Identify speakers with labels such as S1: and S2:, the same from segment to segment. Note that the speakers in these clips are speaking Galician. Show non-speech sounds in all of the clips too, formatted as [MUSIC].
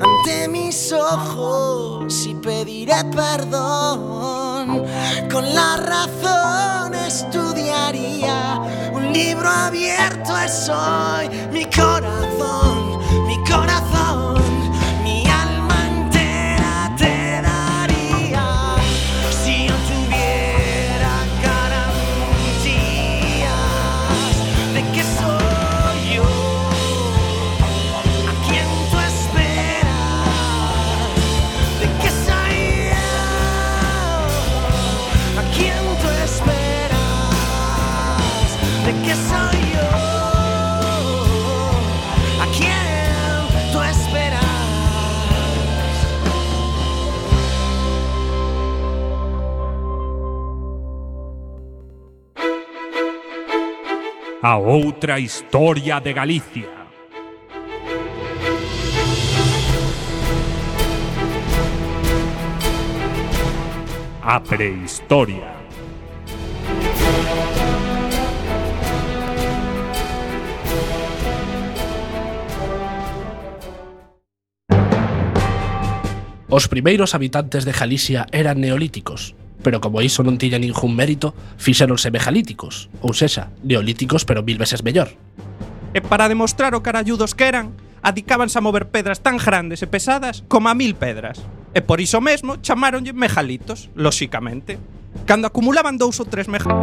S1: ante mis ojos y pediré perdón. Con la razón estudiaría un libro abierto es hoy mi corazón, mi corazón. mi alma entera te daría Si yo tuviera garantías de que soy yo ¿A quién tú esperas? ¿De qué soy yo? ¿A quién tú esperas? ¿De qué soy yo? ¿A quién tú esperas?
S2: a outra historia de Galicia. A prehistoria.
S3: Os primeiros habitantes de Galicia eran neolíticos, pero como iso non tiña ningún mérito, fixéronse megalíticos, ou sexa, neolíticos pero mil veces mellor.
S4: E para demostrar o caralludos que eran, adicábanse a mover pedras tan grandes e pesadas como a mil pedras. E por iso mesmo chamáronlle megalitos, lóxicamente. Cando acumulaban dous ou tres megalitos,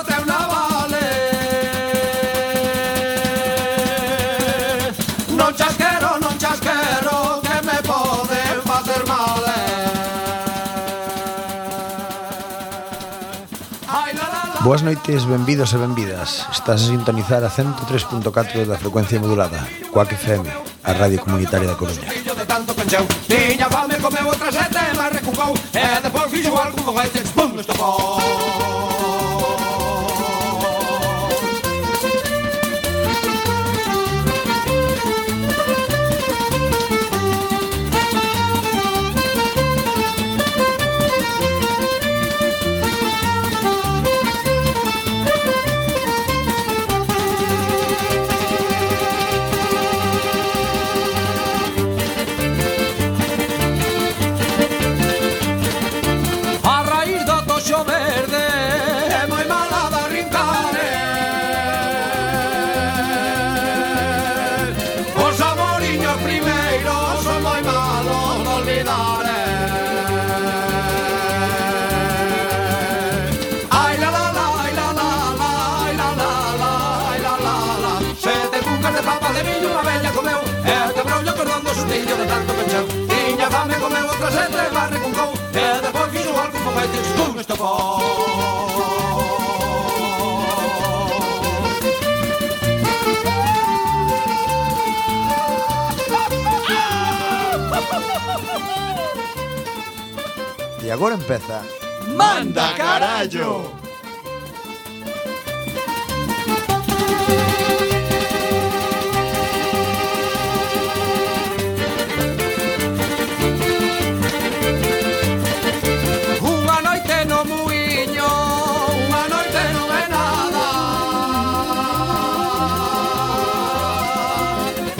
S5: trae unha vale Non chasquero, non chasquero Que me pode facer mal eh. Ai, la, la, la.
S6: Boas noites, benvidos e benvidas. Estás a sintonizar a 103.4 da frecuencia modulada, Coac FM, a radio comunitaria da Coruña.
S5: Fillo de tanto pencheu Tiña fame, comeu outra sete, mas recucou E depois fixo algún foguete, pum, estopou A raíz do toxo verde É moi mala da rincare Os amoriños primeiros Son moi malos de olvidar eh. Ai la la la, ai la la la Ai la la la, ai la la la Sete cucas de papa de viño Unha bella comeu Eh, E te brollo perdón do sustillo de tanto pencheu Tiña fame comeu outra sete Barre con cou Eh, E depois fixo algún foguete Estou neste pó
S6: E agora empeza
S5: ¡Manda carallo! Unha noite no muiño, unha noite non é nada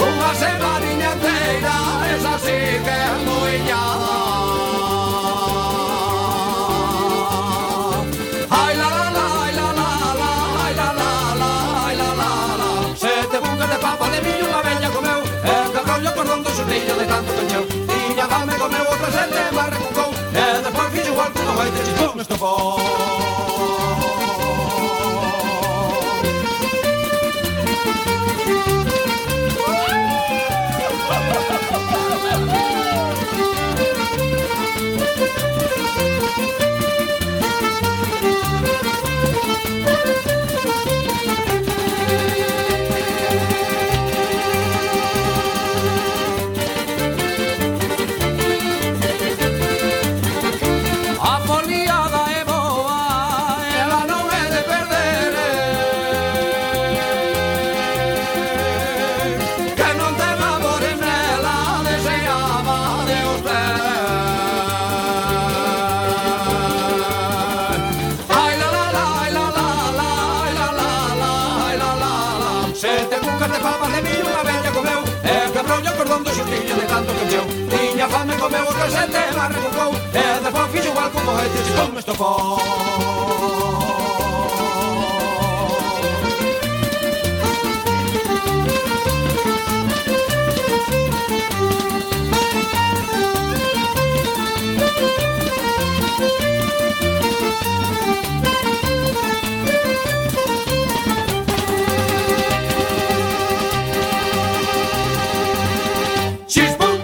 S5: Unha semaninha inteira, esa sí que é muiñada Ai la la la, ai la la la, ai la la la, ai la la la Sete bucas de papa de miño unha bella comeu E que rollo con rondo xurrillo de tanto cancheu Tiña fame comeu outra sete e barra con cou E despois fixo igual que non vai ter chipón neste pó cordón do xurtiño de tanto coñeu Tiña fame comeu o calcete e má rebocou E despois fixo igual co mojete e xipón me estofou Chispum!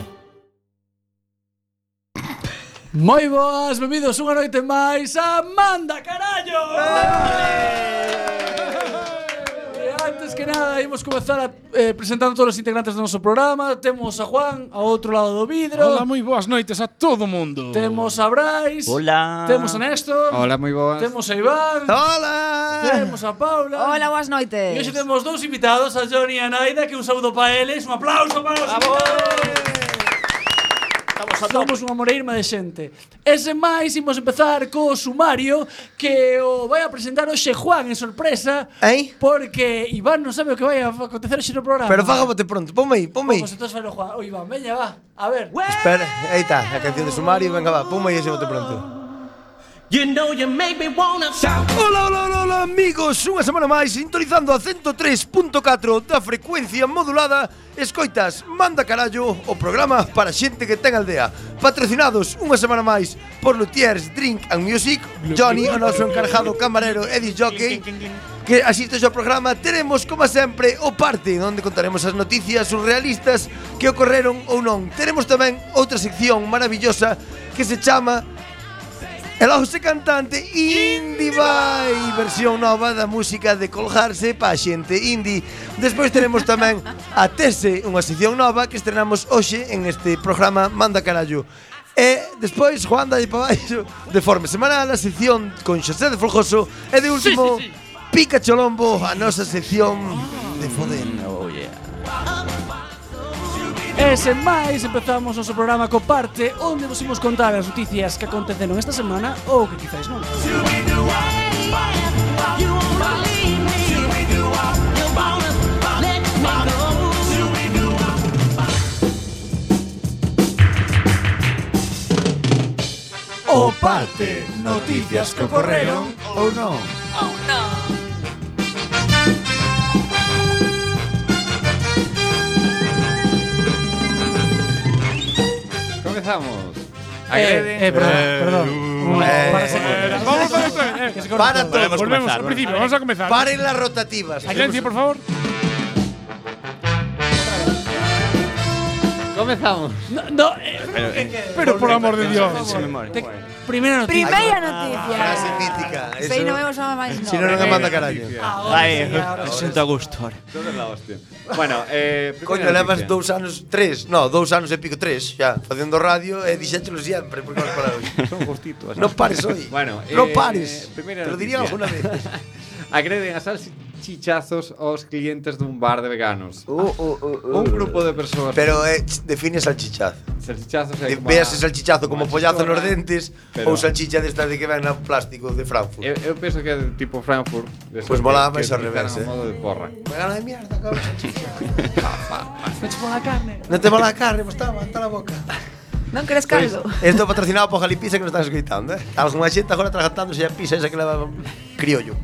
S7: Moi boas, benvidos unha noite máis a Manda Carallo!
S3: Eh.
S7: E antes que nada, imos comezar a, eh, presentando todos os integrantes do noso programa. Temos a Juan, ao outro lado do vidro.
S3: Hola, moi boas noites a todo mundo.
S7: Temos a Brais.
S8: Hola.
S7: Temos a Néstor.
S3: Hola, moi boas.
S7: Temos a Iván.
S3: Hola.
S7: Temos a Paula.
S9: Hola, boas noites.
S7: E hoxe temos dous invitados, a Johnny e a Naida, que un saúdo para eles. Un aplauso para os Estamos a Somos unha moreirma de xente. Ese máis, imos empezar co sumario que o vai a presentar hoxe Juan en sorpresa
S6: Ei?
S7: porque Iván non sabe o que vai a acontecer hoxe no programa.
S6: Pero faga bote pronto, ponme aí, ponme aí.
S7: Vamos, entón falo Juan. O Iván, veña, va. A ver.
S6: Espera, aí está, a canción de sumario, venga va, ponme aí ese bote pronto.
S1: You know you make me wanna shout.
S6: Hola, hola, hola, hola, amigos, unha semana máis sintonizando a 103.4 da frecuencia modulada Escoitas, manda carallo o programa para xente que ten aldea Patrocinados unha semana máis por Lutiers Drink and Music Johnny, o noso encargado camarero e disjockey que asistes ao programa teremos, como sempre, o parte onde contaremos as noticias surrealistas que ocorreron ou non Teremos tamén outra sección maravillosa que se chama El house cantante Indie Vai, versión nova da música de colgarse pa xente indie. Despois teremos tamén a Tese, unha sección nova que estrenamos hoxe en este programa Manda Carallo. E despois, Juan, dalle pa baixo, de forma semanal, a sección con Xosé de Folgoso e de último, sí, sí, sí. Pica Cholombo, a nosa sección de foder.
S8: Oh yeah.
S7: E sen máis, empezamos o noso programa co parte onde vos imos contar as noticias que aconteceron esta semana ou que quizáis non.
S10: O parte, noticias que ocorreron
S6: Oh,
S10: ou non.
S11: Comenzamos.
S7: Eh, eh, perdón, perdón.
S6: Eh,
S7: Para se-
S3: Vamos
S11: eh,
S3: a otra vez.
S7: que se corta
S6: Para todo.
S3: Volvemos al principio, vamos a comenzar.
S6: Paren las rotativas.
S3: Silencio, por favor.
S11: Comenzamos.
S7: No, no, eh,
S3: Pero por amor de Dios.
S7: te- primeira noticia. Ah,
S9: Primeira noticia.
S6: Frase mítica.
S9: Se aí non vemos nada máis
S6: Si non, non a
S9: novo.
S6: manda carallo.
S8: Vai, me sinto a gusto ahora.
S11: Todo la hostia. Bueno, eh.
S6: Coño, levas dous anos, tres, no, dous anos e pico, tres, xa, facendo radio e dixételo siempre, porque vas para hoxe.
S11: ¿eh? [LAUGHS] Son justitos.
S6: Non ¿eh? pares hoy.
S11: Bueno,
S6: non
S11: eh,
S6: pares. Te
S11: primeira
S6: lo diría alguna
S11: noticia.
S6: vez.
S11: [LAUGHS] Agreden a salchichazos aos clientes dun bar de veganos.
S6: Uh, uh, uh, uh.
S11: Un grupo de persoas.
S6: Pero eh, ch- define salchichazo.
S11: Salchichazos é
S6: De,
S11: como
S6: veas
S11: a-
S6: ese salchichazo como
S11: a
S6: pollazo
S11: chistorra.
S6: nos dentes ou
S11: Pero-
S6: salchicha destas de que ven a plástico de Frankfurt.
S11: Eu, eu penso que é de tipo Frankfurt. desde
S6: Pois
S11: que-
S6: molaba
S11: que
S6: máis ao
S11: utilizan
S6: revés,
S11: a
S6: eh.
S11: modo de porra.
S6: Vegano de mierda, cabrón,
S11: [LAUGHS]
S6: [LAUGHS] salchicha.
S7: Me chupou a carne.
S6: non te mola a carne, mas está, está na boca.
S9: Non queres caldo?
S6: Esto é patrocinado por Jalipisa que nos están escoitando, eh? Alguna xente agora tragantándose a pizza esa que leva criollo.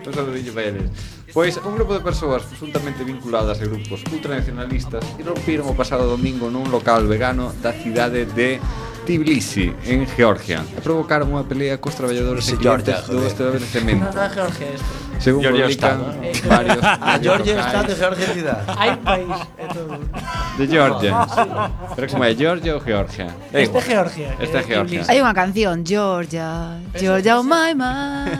S11: Un saludillo para eles. Pois un grupo de persoas presuntamente vinculadas a grupos ultranacionalistas irrompiron o pasado domingo nun local vegano da cidade de Tbilisi, en Georgia, e provocaron unha pelea cos traballadores e
S6: Ese
S11: clientes
S6: Georgia,
S11: do
S6: joder.
S11: establecemento.
S7: Nada, Jorge, esto.
S11: Según
S8: Georgia está,
S11: publican
S8: ¿no?
S11: varios
S6: A Georgia
S11: locais
S6: está de Georgia cidade.
S7: Hai país e todo.
S11: de Georgia.
S1: Ah,
S11: Pero como é Georgia ou Georgia?
S7: Este é
S11: É igual.
S7: Georgia.
S11: Este é
S7: eh,
S11: Georgia.
S9: Hai unha canción, Georgia, Georgia on
S11: [LAUGHS]
S9: my mind.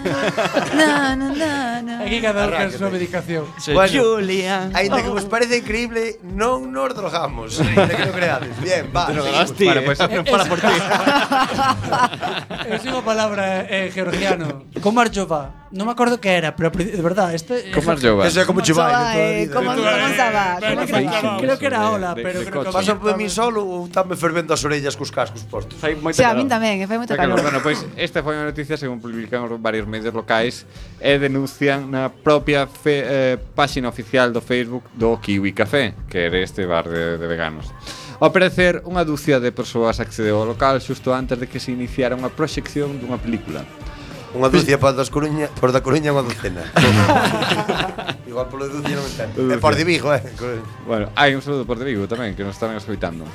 S9: Na na na na.
S7: Aquí cada un ten a súa medicación.
S6: Bueno.
S8: Julia.
S6: Ainda que vos parece increíble, non nos drogamos. Ainda que non creades. Bien, va. seguimos.
S8: Hostia,
S11: Vale, pois-
S8: eh, para por ti.
S6: [LAUGHS]
S7: É unha palabra eh, georgiano. Comarchova. Non me acordo que era, pero de verdad, este
S11: Como as llovas. Eso é como
S7: Chivai,
S11: Chivai, de toda a
S6: eh,
S7: eh,
S11: vida.
S9: Como
S11: De toda a
S9: como
S11: vida.
S9: Sabá,
S11: Ben,
S9: como
S11: ben,
S9: Sabá.
S11: ben, ben.
S7: Creo que era ola,
S11: De-
S7: pero
S11: de
S7: creo que
S11: coche.
S6: Pasa por min solo ou tanme fervendo as orellas cos cascos postos?
S11: Fai moita
S9: Sí, a min tamén, e fai moito
S11: Xa que
S9: calor.
S11: nos- Bueno, pois esta foi unha noticia según publicaron varios medios locais e denuncian na propia fe, eh, páxina oficial do Facebook do Kiwi Café, que era este bar de, de veganos. Ao parecer, unha dúcia de persoas accedeu ao local xusto antes de que se iniciara unha proxección dunha película.
S6: Unha dúcia para das Coruña, por da Coruña unha docena. Igual polo dúcia non entendo. É por de Vigo, eh.
S11: Bueno, hai un saludo por de Vigo tamén que nos están escoitando.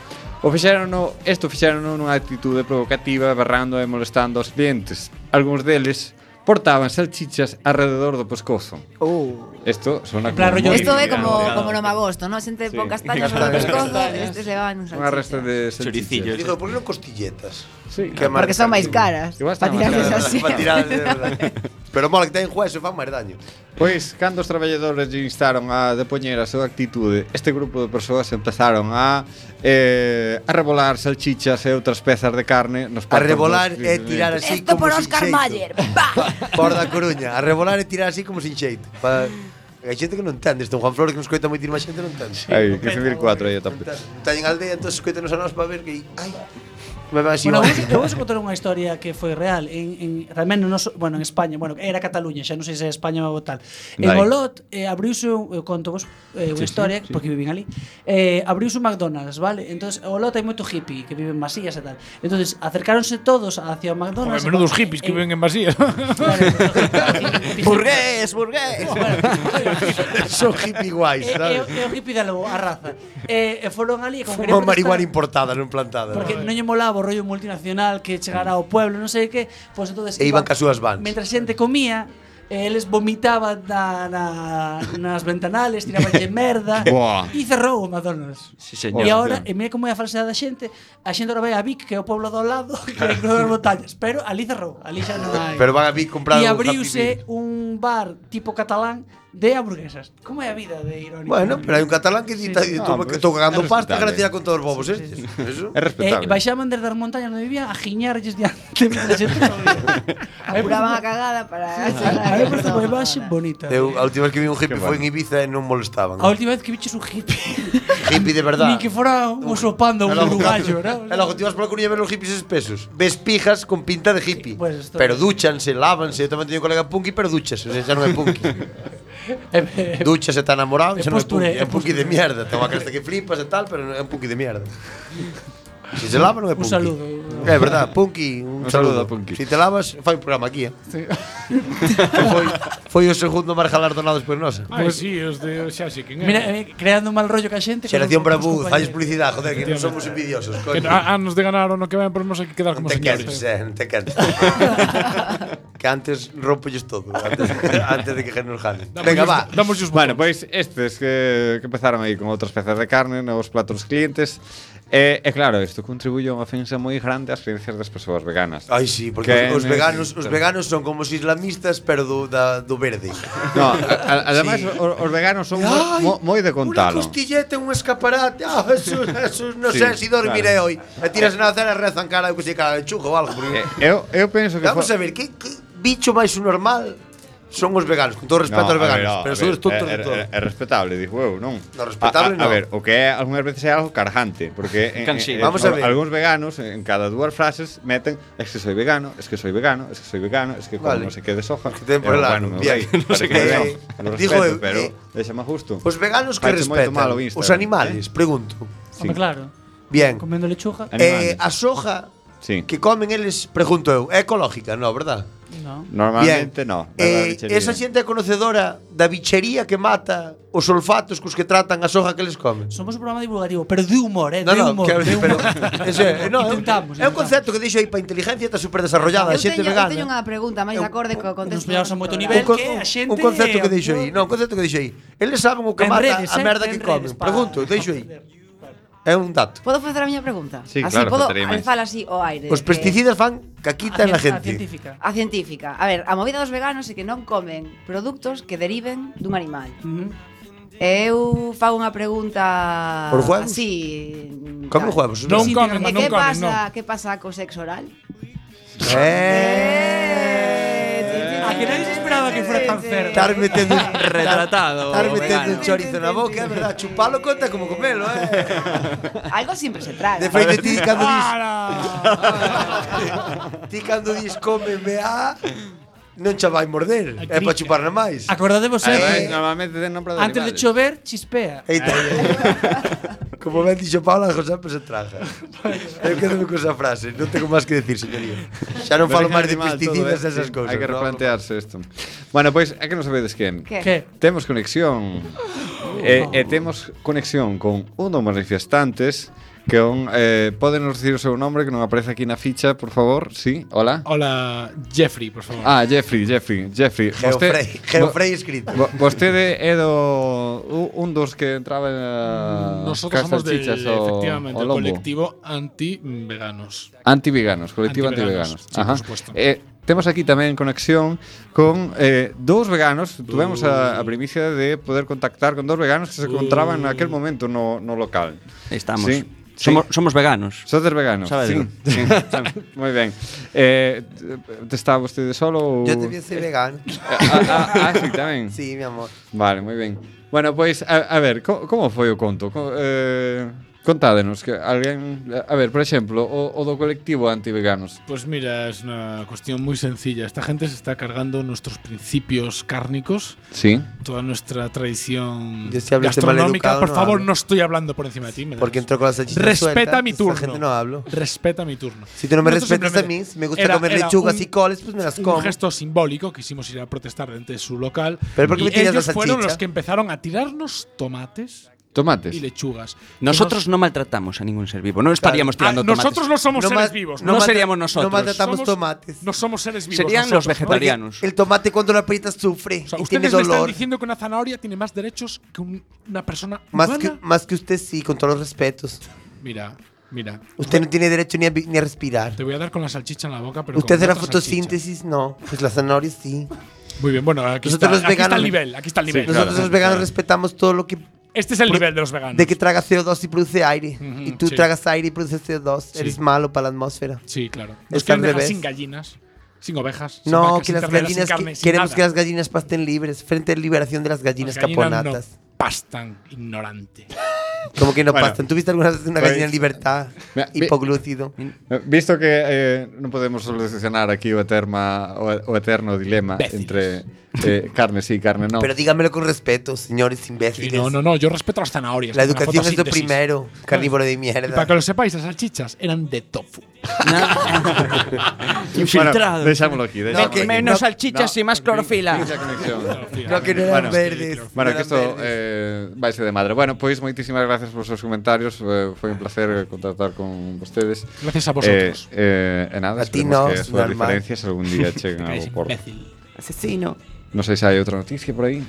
S11: O fixerono, isto fixerono nunha actitude provocativa berrando e molestando aos clientes. Algúns deles portaban salchichas alrededor do pescozo.
S9: Uh.
S11: Isto
S7: Oh.
S11: sona
S7: En plan
S11: como...
S7: rollo
S11: moi
S9: Esto é
S11: italiano.
S9: como, como no magosto, ¿no? Xente sí.
S11: Sí.
S9: pon castañas no
S11: Castañas.
S9: pescozo,
S11: Castañas.
S9: estes levaban un
S11: Unha
S9: salchicha.
S11: resta de salchichas.
S6: Digo, por que non costilletas?
S11: Sí,
S9: Porque son máis caras.
S11: Igual
S9: Pa
S11: están máis
S9: tirarles
S11: caras.
S9: así.
S6: Para tirar, de verdade. Pero mola que ten juez, fan máis daño.
S11: Pois, cando os traballadores lle instaron a depoñer a súa actitude, este grupo de persoas empezaron a eh, a rebolar salchichas e outras pezas de carne nos
S6: A
S11: platos
S6: rebolar
S11: dos
S6: e tirar
S11: clientes.
S6: así como sin xeito. Por da Coruña, a rebolar e tirar así como sin xeito. Pa... Hai xente que non entende isto, Juan Flores que nos coita moitísima xente non entende.
S11: Aí, que se vir cuatro aí a tope.
S6: Non teñen aldea, entón escoitanos a nós para ver que ai, me va así.
S7: Bueno,
S6: mal.
S7: vamos, eu vos
S6: [LAUGHS]
S7: contar unha historia que foi real en, en tamén no noso, bueno, en España, bueno, era Cataluña, xa non sei se é España ou tal. En
S12: Dai.
S7: Olot eh, abriuse un, eu conto vos eh, unha
S12: Sí, sí,
S7: historia
S12: sí.
S7: porque vivín ali. Eh, abriuse un McDonald's, vale? Entonces, en Olot hai moito hippie que viven masías e tal. Entonces, acercáronse todos hacia o
S6: pues,
S7: McDonald's. eh,
S3: Joder, menudos
S6: eh,
S3: hippies que viven en
S6: [LAUGHS]
S3: masías.
S7: burgués,
S6: burgués.
S7: Son
S6: hippie guais,
S7: É,
S6: sabes?
S7: é, é o hippie da lobo, a raza. Eh, E, e foron ali e como
S6: Unha
S7: querían protestar-
S6: marihuana importada, non plantada.
S7: Porque non lle molaba o rollo multinacional que chegara ao pueblo, non sei que, pois entonces
S6: E iban cas súas vans.
S7: Mentre xente comía, eh, eles vomitaban na, na, nas ventanales, tirabanlle merda
S8: Buah.
S7: e cerrou o McDonald's.
S8: Sí, señor.
S7: E agora, e mira como é a falsedade da xente, a xente agora vai a Vic, que é o pueblo do lado, [LAUGHS] que hai cruzar as montañas, pero ali cerrou, ali xa non hai.
S6: Pero van a vir comprar
S7: E
S6: un
S7: abriuse un bar tipo catalán de hamburguesas. Como é a vida de irónico?
S6: Bueno, pero hai un catalán que
S7: Sí.
S6: di está
S7: No,
S6: estou
S7: pues,
S6: estou
S7: é
S6: cagando pasta
S7: respetable.
S6: gracias con todos os bobos estes. Eso.
S7: Eh,
S11: É
S7: baixaban desde as montañas onde vivía a giñarlles [LAUGHS] diante da xente.
S9: Apuraban a cagada para...
S7: A mí parece moi baixo bonita.
S6: Eu a última vez que vi un hippie
S11: Qué
S6: foi en Ibiza e non molestaban.
S7: A última vez que viches un hippie,
S6: Hippie de
S7: ni
S6: verdad.
S7: que fora un osopando un
S6: Era lo que-
S7: uruguayo, ¿no?
S6: era lo que te ibas por la cuña a ver los hippies espesos. Ves pijas con pinta de hippie.
S7: Pues esto-
S6: pero duchanse, lávanse. Yo tamén teño un colega punky, pero duchas. O sea, xa non é punky.
S7: [LAUGHS]
S6: duchas está enamorado,
S7: É
S6: xa non é
S7: postureo,
S6: punky. É
S7: é
S6: un punky de mierda. Toma cresta que flipas e tal, pero non é un punky de mierda. Si se lava non é
S7: Un
S6: punky.
S7: saludo.
S6: É verdad, punky, un,
S11: Un
S6: saludo.
S11: saludo a punky.
S6: Si te lavas, fai un programa aquí, eh. [LAUGHS] foi, foi o segundo máis galardonado despois nosa.
S3: Ai,
S11: Pues,
S3: sí, os de Xaxi, quen é?
S7: Mira, eh, creando un mal rollo que a xente.
S6: Xeración Bravuz,
S7: falles
S6: falles publicidade, joder, que non somos envidiosos,
S3: Que
S6: coño.
S7: ah,
S3: a- anos de ganar o no que ven, pero non sei que quedar como
S6: te canses,
S3: señores.
S6: eh, non te canses. [LAUGHS] que antes rompolles todo, antes, antes de que nos jalen. Venga, va.
S3: Damos
S11: bueno, pois estes que, que empezaron aí con outras pezas de carne nos platos dos clientes. E, e claro, isto contribuye a unha ofensa moi grande ás creencias das persoas veganas.
S6: Ai, sí, Porque os, os veganos, os veganos son como os islamistas, pero do, da, do verde.
S11: No, a- a- ademais
S6: Sí.
S11: os, os veganos son
S6: Ai,
S11: moi, moi de contalo.
S6: Costillete, un escaparate. Ah, Jesús, Jesús, non
S11: Sí,
S6: sei se dormiré
S11: claro. Eh.
S6: hoy. E tiras na cena e rezan cara, eu que sei, cara de chujo ou algo. porque-
S11: Eu, eu penso que
S6: Vamos
S11: fo-
S6: a ver, que, que bicho máis normal son os veganos, con todo respeto
S11: No,
S6: aos
S11: a ver,
S6: veganos,
S11: no,
S6: pero
S11: a
S6: sodes
S11: ver, er,
S6: tontos
S11: é-
S6: de todo.
S11: é- É respetable, digo eu, non?
S6: No, respetable
S11: a, a, a
S6: no.
S11: ver, o que é algunhas veces é algo carjante,
S6: [LAUGHS]
S11: porque en,
S6: Cansiño.
S11: en,
S6: Vamos a ver.
S11: algúns veganos en cada dúas frases meten es que soy vegano, es que soy vegano, es que soy vegano, es que como
S6: Vale.
S11: non sei que de soja.
S6: Que ten por
S11: Eu,
S6: el ano,
S11: bueno, meu
S6: bien. [LAUGHS]
S11: rei,
S6: Non sei
S11: parece
S6: que de
S11: ben,
S6: soja.
S11: lo
S6: Digo
S11: respeto,
S6: eu,
S11: pero
S6: eh,
S11: déxame justo.
S6: Os veganos que
S11: Parece moito
S6: respetan
S11: malo eh.
S6: os
S11: o Instagram,
S6: animales, pregunto.
S7: Home, claro.
S6: Bien.
S7: Comendo lechuga.
S6: Eh, a soja
S11: Sí.
S6: que comen eles, pregunto eu, é ecológica, non, verdad?
S7: No.
S11: Normalmente no, da
S6: Eh,
S11: bichería.
S6: esa xente é conocedora da bichería que mata os sulfatos cos que tratan a soja que eles comen.
S7: Somos un programa divulgativo, pero de humor, eh, de humor,
S6: quero
S7: de
S6: dicir, pero,
S7: humor.
S6: [LAUGHS] eso é, no,
S7: Intentamos,
S6: é un concepto que deixo aí para inteligencia está superdesarrollada, a
S9: Eu
S6: xente
S9: teño, eu teño
S6: vegana.
S9: unha pregunta máis
S6: Eh,
S9: acorde co contexto.
S7: pegados a moito nivel
S6: co-
S7: que a xente
S6: un concepto que
S7: eh,
S6: deixo aí, non, un concepto que deixo aí. Eles saben o que
S7: En
S6: mata
S7: redes,
S6: a
S7: eh,
S6: merda
S7: en
S6: que
S7: redes,
S6: comen.
S7: pa-
S6: Pregunto, deixo aí. É un dato.
S9: Podo facer a miña pregunta?
S6: Sí,
S9: así
S6: claro,
S9: podo
S6: faltaría máis.
S9: alzar así o aire. Eh,
S6: Os
S9: que-
S6: pesticidas fan caquita en la gente.
S9: A científica. A ver, a movida dos veganos é que non comen produtos que deriven dun animal. E Eu fago unha pregunta
S6: Por Pues huevos?
S9: así.
S6: Comen huevos,
S9: tal.
S6: non? Non
S9: Sí,
S6: comen,
S9: e
S6: non
S9: que
S6: comen,
S9: pasa, que pasa co sexo oral?
S6: Eh,
S9: Eh,
S12: que nadie se esperaba que fuera tan cerdo.
S6: Estar metendo un
S8: Retratado,
S6: Estar metendo
S8: vegano.
S6: un chorizo na boca, é verdade, chupalo conta como comelo, eh.
S9: Algo siempre se traga.
S6: De feito
S9: [LAUGHS]
S6: ti cando dis Ti cando dis cómeme a non cha vai morder, é para chupar na máis.
S12: Acordadevos
S6: Eh,
S12: sempre.
S11: Normalmente ten nombre de
S12: Antes de
S6: animales.
S12: chover, chispea.
S6: Eita. Como ben dixo Paula, as sempre se traja. Eu quedo con esa frase, non tengo máis que decir, señoría. Xa non falo
S11: Origen
S6: máis de
S11: animal,
S6: pesticidas
S11: todo,
S6: e
S11: eh,
S6: esas
S11: sí.
S6: cousas.
S11: Hay que
S6: non?
S11: replantearse esto. Bueno, pues, pois, é que non sabedes quen.
S6: Que? Que?
S11: Temos conexión.
S3: Oh.
S11: e, e temos conexión con un dos manifestantes que un, eh, poden nos dicir o seu nome que non aparece aquí na ficha, por favor. Sí, hola.
S3: Hola, Jeffrey, por favor.
S11: Ah, Jeffrey, Jeffrey, Jeffrey.
S3: Geofrey,
S11: Vosté-
S3: Geofrey
S11: vo-
S3: escrito.
S11: vo- Vostede é do u- un dos que entraba en
S3: Nosotros somos del, efectivamente, el
S11: colectivo
S3: colectivo anti-veganos.
S11: Antiveganos, colectivo
S3: Antiveganos,
S11: antiveganos.
S3: sí, por supuesto.
S11: Eh, temos aquí tamén conexión con eh, dos veganos. Tuvemos a, a primicia de poder contactar con dos veganos que se encontraban en aquel momento no, no local.
S8: Estamos. Somos-
S11: veganos. Sodes veganos.
S8: Sabe
S11: Sí,
S8: digo.
S11: sí, está moi ben. Eh, te- está vostede solo ou Eh,
S6: Yo también soy vegano.
S11: Ah, ah, ah, sí, tamén.
S6: Sí, mi amor.
S11: Vale, moi ben. Bueno, pois a, a ver, co, como foi o conto? Co, eh, contádenos que alguén, a ver, por exemplo, o, o do colectivo antiveganos.
S3: Pues mira, es una cuestión muy sencilla. Esta gente se está cargando nuestros principios cárnicos.
S11: Sí.
S3: Toda nuestra tradición
S6: Yo si hablo este
S3: gastronómica.
S6: maleducado,
S3: Por
S6: no
S3: favor,
S6: hablo.
S3: no estoy hablando por encima de ti. me da
S6: Porque entró con las salchichas
S3: Respeta
S6: sueltas,
S3: mi
S6: entonces la
S3: turno.
S6: gente no hablo.
S3: Respeta mi turno.
S6: Si tú no me
S3: Nosotros
S6: respetas a
S3: simplemente-
S6: mí, si me gusta comer lechugas y coles, pues me las como.
S3: Un gesto simbólico, quisimos ir a protestar ante su local.
S6: Pero ¿por qué
S3: y
S6: me tiras la
S3: ellos fueron
S6: salchicha?
S3: los que empezaron a tirarnos tomates.
S11: Tomates.
S3: Y lechugas. Que
S8: Nosotros no maltratamos a ningún ser vivo. No estaríamos
S3: Claro.
S8: tirando
S3: Ah,
S8: tomates.
S3: Nosotros no somos
S6: No
S3: seres
S6: ma-
S3: vivos.
S8: no No maltra- seríamos no
S6: No
S8: nosotros.
S6: maltratamos
S3: Somos-
S6: tomates.
S3: No somos seres vivos.
S8: Serían los
S3: nosotros, ¿no?
S8: vegetarianos.
S6: El tomate cuando lo aprietas sufre
S3: O sea,
S6: y tiene
S3: ustedes me están
S6: dolor.
S3: diciendo que una zanahoria tiene más derechos que un- una persona
S6: Más
S3: humana?
S6: que, más que usted sí, con todos los respetos.
S3: Mira, mira.
S6: Usted no tiene derecho ni a, vi- ni a respirar.
S3: Te voy a dar con la salchicha en la boca, pero.
S6: ¿Usted
S3: con
S6: hará
S3: otra salchicha.
S6: fotosíntesis? No. Pues las zanahorias sí.
S3: Muy bien, bueno, aquí, está, aquí está el nivel. Aquí está el nivel.
S6: Nosotros los veganos respetamos todo lo que.
S3: Este es el
S6: pro-
S3: nivel de los veganos.
S6: De que traga CO2 y produce aire.
S3: Ujú,
S6: y tú
S3: sí.
S6: tragas aire y produces CO2.
S3: Sí.
S6: Eres malo para la atmósfera.
S3: Sí, claro. Nos
S6: Está al
S3: quieren dejar
S6: revés.
S3: sin gallinas, sin ovejas. sin
S6: No,
S3: vacas,
S6: que
S3: sin
S6: las
S3: terneras, sin
S6: gallinas.
S3: carne,
S6: que-
S3: sin
S6: queremos
S3: nada.
S6: que las gallinas pasten libres frente a la liberación de las gallinas
S3: Las gallinas no
S6: caponatas.
S3: pastan ignorante.
S6: Como que no
S11: Bueno,
S6: pastan. ¿Tuviste alguna vez una
S11: pues-
S6: gallina en libertad?
S11: Mira, vi-
S6: Hipoglúcido.
S11: Eh, Visto que eh, non podemos solucionar aquí o, eterma, o, o eterno dilema
S6: Béciles.
S11: entre eh, carne sí, carne non.
S6: Pero dígamelo con respeto, señores imbéciles.
S3: Sí, no, no, no, yo respeto las zanahorias.
S6: La
S3: con una
S6: educación es lo
S3: fotosíntesis.
S6: primero, carnívoro de mierda.
S3: Y para que lo sepáis, las salchichas eran de tofu.
S11: Infiltrado. [LAUGHS] Bueno, deixámoslo aquí, deixámoslo aquí.
S8: menos salchichas y más clorofila.
S6: No, que no eran verdes.
S11: Bueno,
S6: no eran
S11: que isto
S6: verdes.
S11: eh, vai ser de madre. Bueno, pois moitísimas gracias por seus comentarios. Eh, foi un placer eh, contactar con vostedes.
S3: Gracias a vosotros.
S11: Eh, eh, e nada,
S6: A ti
S11: esperemos
S6: no,
S11: que as súas
S6: normal.
S11: diferencias algún
S3: [LAUGHS]
S11: día cheguen ao
S8: Eres
S11: por.
S8: Asesino.
S11: Non sei se hai outra noticia por aí.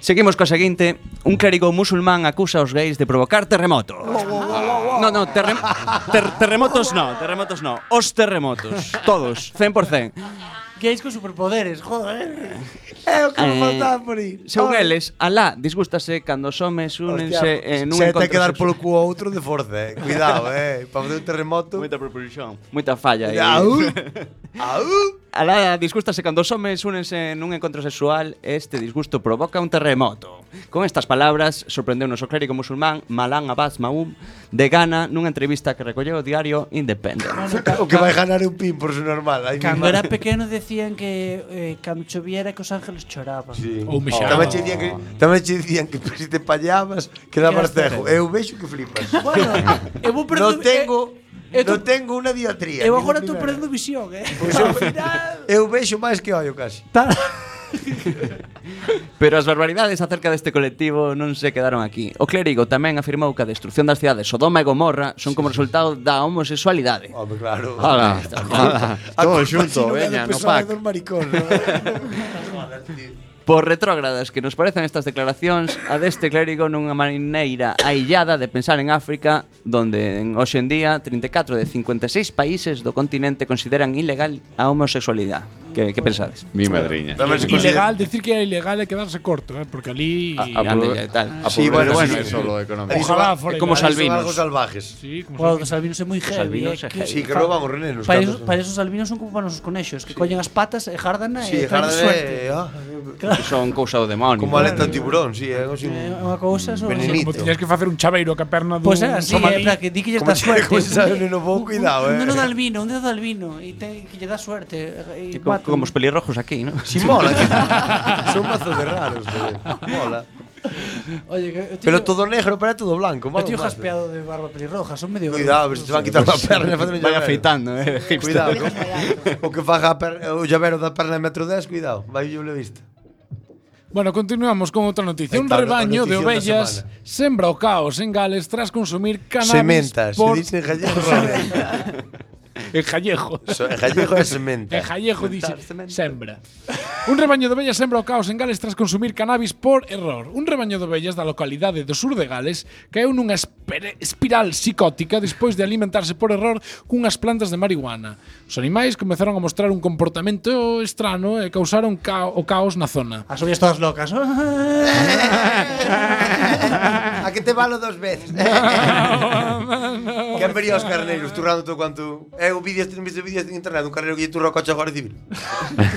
S8: Seguimos coa seguinte. Un clérigo musulmán acusa aos gays de provocar terremotos.
S7: Ah.
S8: No, no, terrem ter- terremotos no, terremotos no. Os terremotos, todos,
S6: [LAUGHS]
S8: 100%.
S12: Gays con superpoderes, joder.
S6: É o
S8: que me Eh, faltaba por Ah. Según eles, alá disgústase cando os homes únense en un
S6: se
S8: encontro
S6: te que dar
S8: sexual.
S6: polo cu a outro de forza, eh. Cuidado, eh. Para fazer un terremoto.
S8: Moita propulsión. Moita falla aí. [LAUGHS]
S6: Au. Au.
S8: Alá disgústase cando os homes únense nun encontro sexual e este disgusto provoca un terremoto. Con estas palabras, sorprendeu-nos o clérigo musulmán Malan Abbas Maum de Ghana nunha entrevista que recolleu o diario Independent.
S6: O que vai ganar é un pin por su normal. Ay, mi
S12: Cando
S6: madre.
S12: era pequeno decían que eh, cando choviera que os ángeles choraban.
S6: Sí.
S3: Ou Oh, me
S6: Tamén che dicían que tamén che dicían que se te pallabas, quedabas
S12: Quedas
S6: cejo.
S12: cego.
S6: Eu vexo que flipas.
S12: Bueno, eu vou perdendo-
S6: non tengo
S12: eh,
S6: non
S12: tú-
S6: tengo unha diatría.
S12: Eu
S6: ningún
S12: agora estou
S6: nivel.
S12: perdendo visión, eh.
S6: Pois
S12: [LAUGHS]
S6: eu, eu vexo máis que ollo casi.
S8: Pero as barbaridades acerca deste colectivo non se quedaron aquí. O clérigo tamén afirmou que a destrucción das cidades Sodoma e Gomorra son como resultado da homosexualidade.
S6: Home, claro. Ah,
S8: Ala, ala,
S6: A
S8: todo
S6: culpa
S8: xunto,
S6: si non é do
S8: veña, no
S6: PSOE,
S8: pack.
S6: dos maricóns, [LAUGHS] non? Joder, tío.
S8: Por retrógradas que nos parecen estas declaracións, a deste clérigo nunha maneira aillada de pensar en África, donde en e hoxe en día 34 de 56 países do continente consideran ilegal a homosexualidade. Que, que pensades?
S11: Mi madriña.
S3: Ilegal, decir que era ilegal é quedarse corto, eh, porque ali…
S8: A- a prove- a Sí, bueno, prove- sí, sí. solo económico.
S3: Ojalá
S8: Es
S3: fora
S8: como
S3: ilegal.
S8: Salvino.
S6: Algo salvajes.
S3: Sí,
S8: Pues
S3: como
S12: Claro, que os albinos é moi heavy.
S6: albinos
S12: é
S6: é heavy. Sí, que rouban os renenos,
S12: Para,
S6: cantos,
S12: eso, para esos albinos son como para nosos conexos, que collen as patas e jardana
S6: Sí,
S12: e traen
S6: jardana
S12: suerte.
S6: e, ah,
S8: Que son cousa do demonio.
S6: Como aleta de tiburón, sí, é así
S12: É Eh,
S6: un
S12: unha cousa só.
S6: venenito.
S3: Como tiñas que facer un chaveiro ca perna
S8: Pues
S3: dun
S12: Pois é, así, é,
S3: somalí.
S12: para que di que lle
S6: [LAUGHS]
S12: dá
S6: Como che-
S12: suerte.
S6: como se sabe, non
S12: [LAUGHS]
S6: vou, cuidado,
S12: un,
S6: eh.
S12: Un dedo de albino, un dedo de albino, e te, que lle dá suerte. E,
S8: Co- Como os pelirrojos aquí, ¿no?
S6: Si mola.
S12: [LAUGHS]
S6: que- son mazos de raros, joder. Mola.
S12: Oye, que, eu teño-
S6: Pero todo negro, pero é todo blanco.
S12: Eu
S6: Mola
S12: tío
S6: un mazo.
S12: jaspeado de barba pelirroja, son medio... eh.
S6: Cuidado, pero se te van a quitar la perna.
S8: Van afeitando, eh, hipster.
S6: Cuidado. o que faga a perna, o llavero da perna de metro 10, cuidado. Vai yo le
S12: [LAUGHS]
S6: vista.
S3: Bueno, continuamos con outra noticia.
S6: Aí
S3: Un
S6: está, outra
S3: rebaño de
S6: noticia da
S3: ovellas sembra o caos en Gales tras consumir cannabis
S6: Sementas, se
S3: por...
S6: dice
S3: [LAUGHS]
S6: en gallego.
S3: en gallego.
S6: So- en gallego é sementa.
S3: En gallego dice sembra. Un rebaño de ovellas sembra o caos en Gales tras consumir cannabis por error. Un rebaño de ovellas da localidade do sur de Gales caeu nunha espere- espiral psicótica despois de alimentarse por error cunhas plantas de marihuana. Os animais comezaron a mostrar un comportamento estrano e causaron ca o caos na zona.
S12: As ovellas todas locas.
S3: [LAUGHS]
S6: A que te
S12: [LAUGHS]
S6: valo dos veces. que han venido os carneiros turrando todo cuanto... É o vídeo, este vídeo este en internet, un carneiro que lle turra o coche a Guardia
S8: [LAUGHS]
S6: Civil.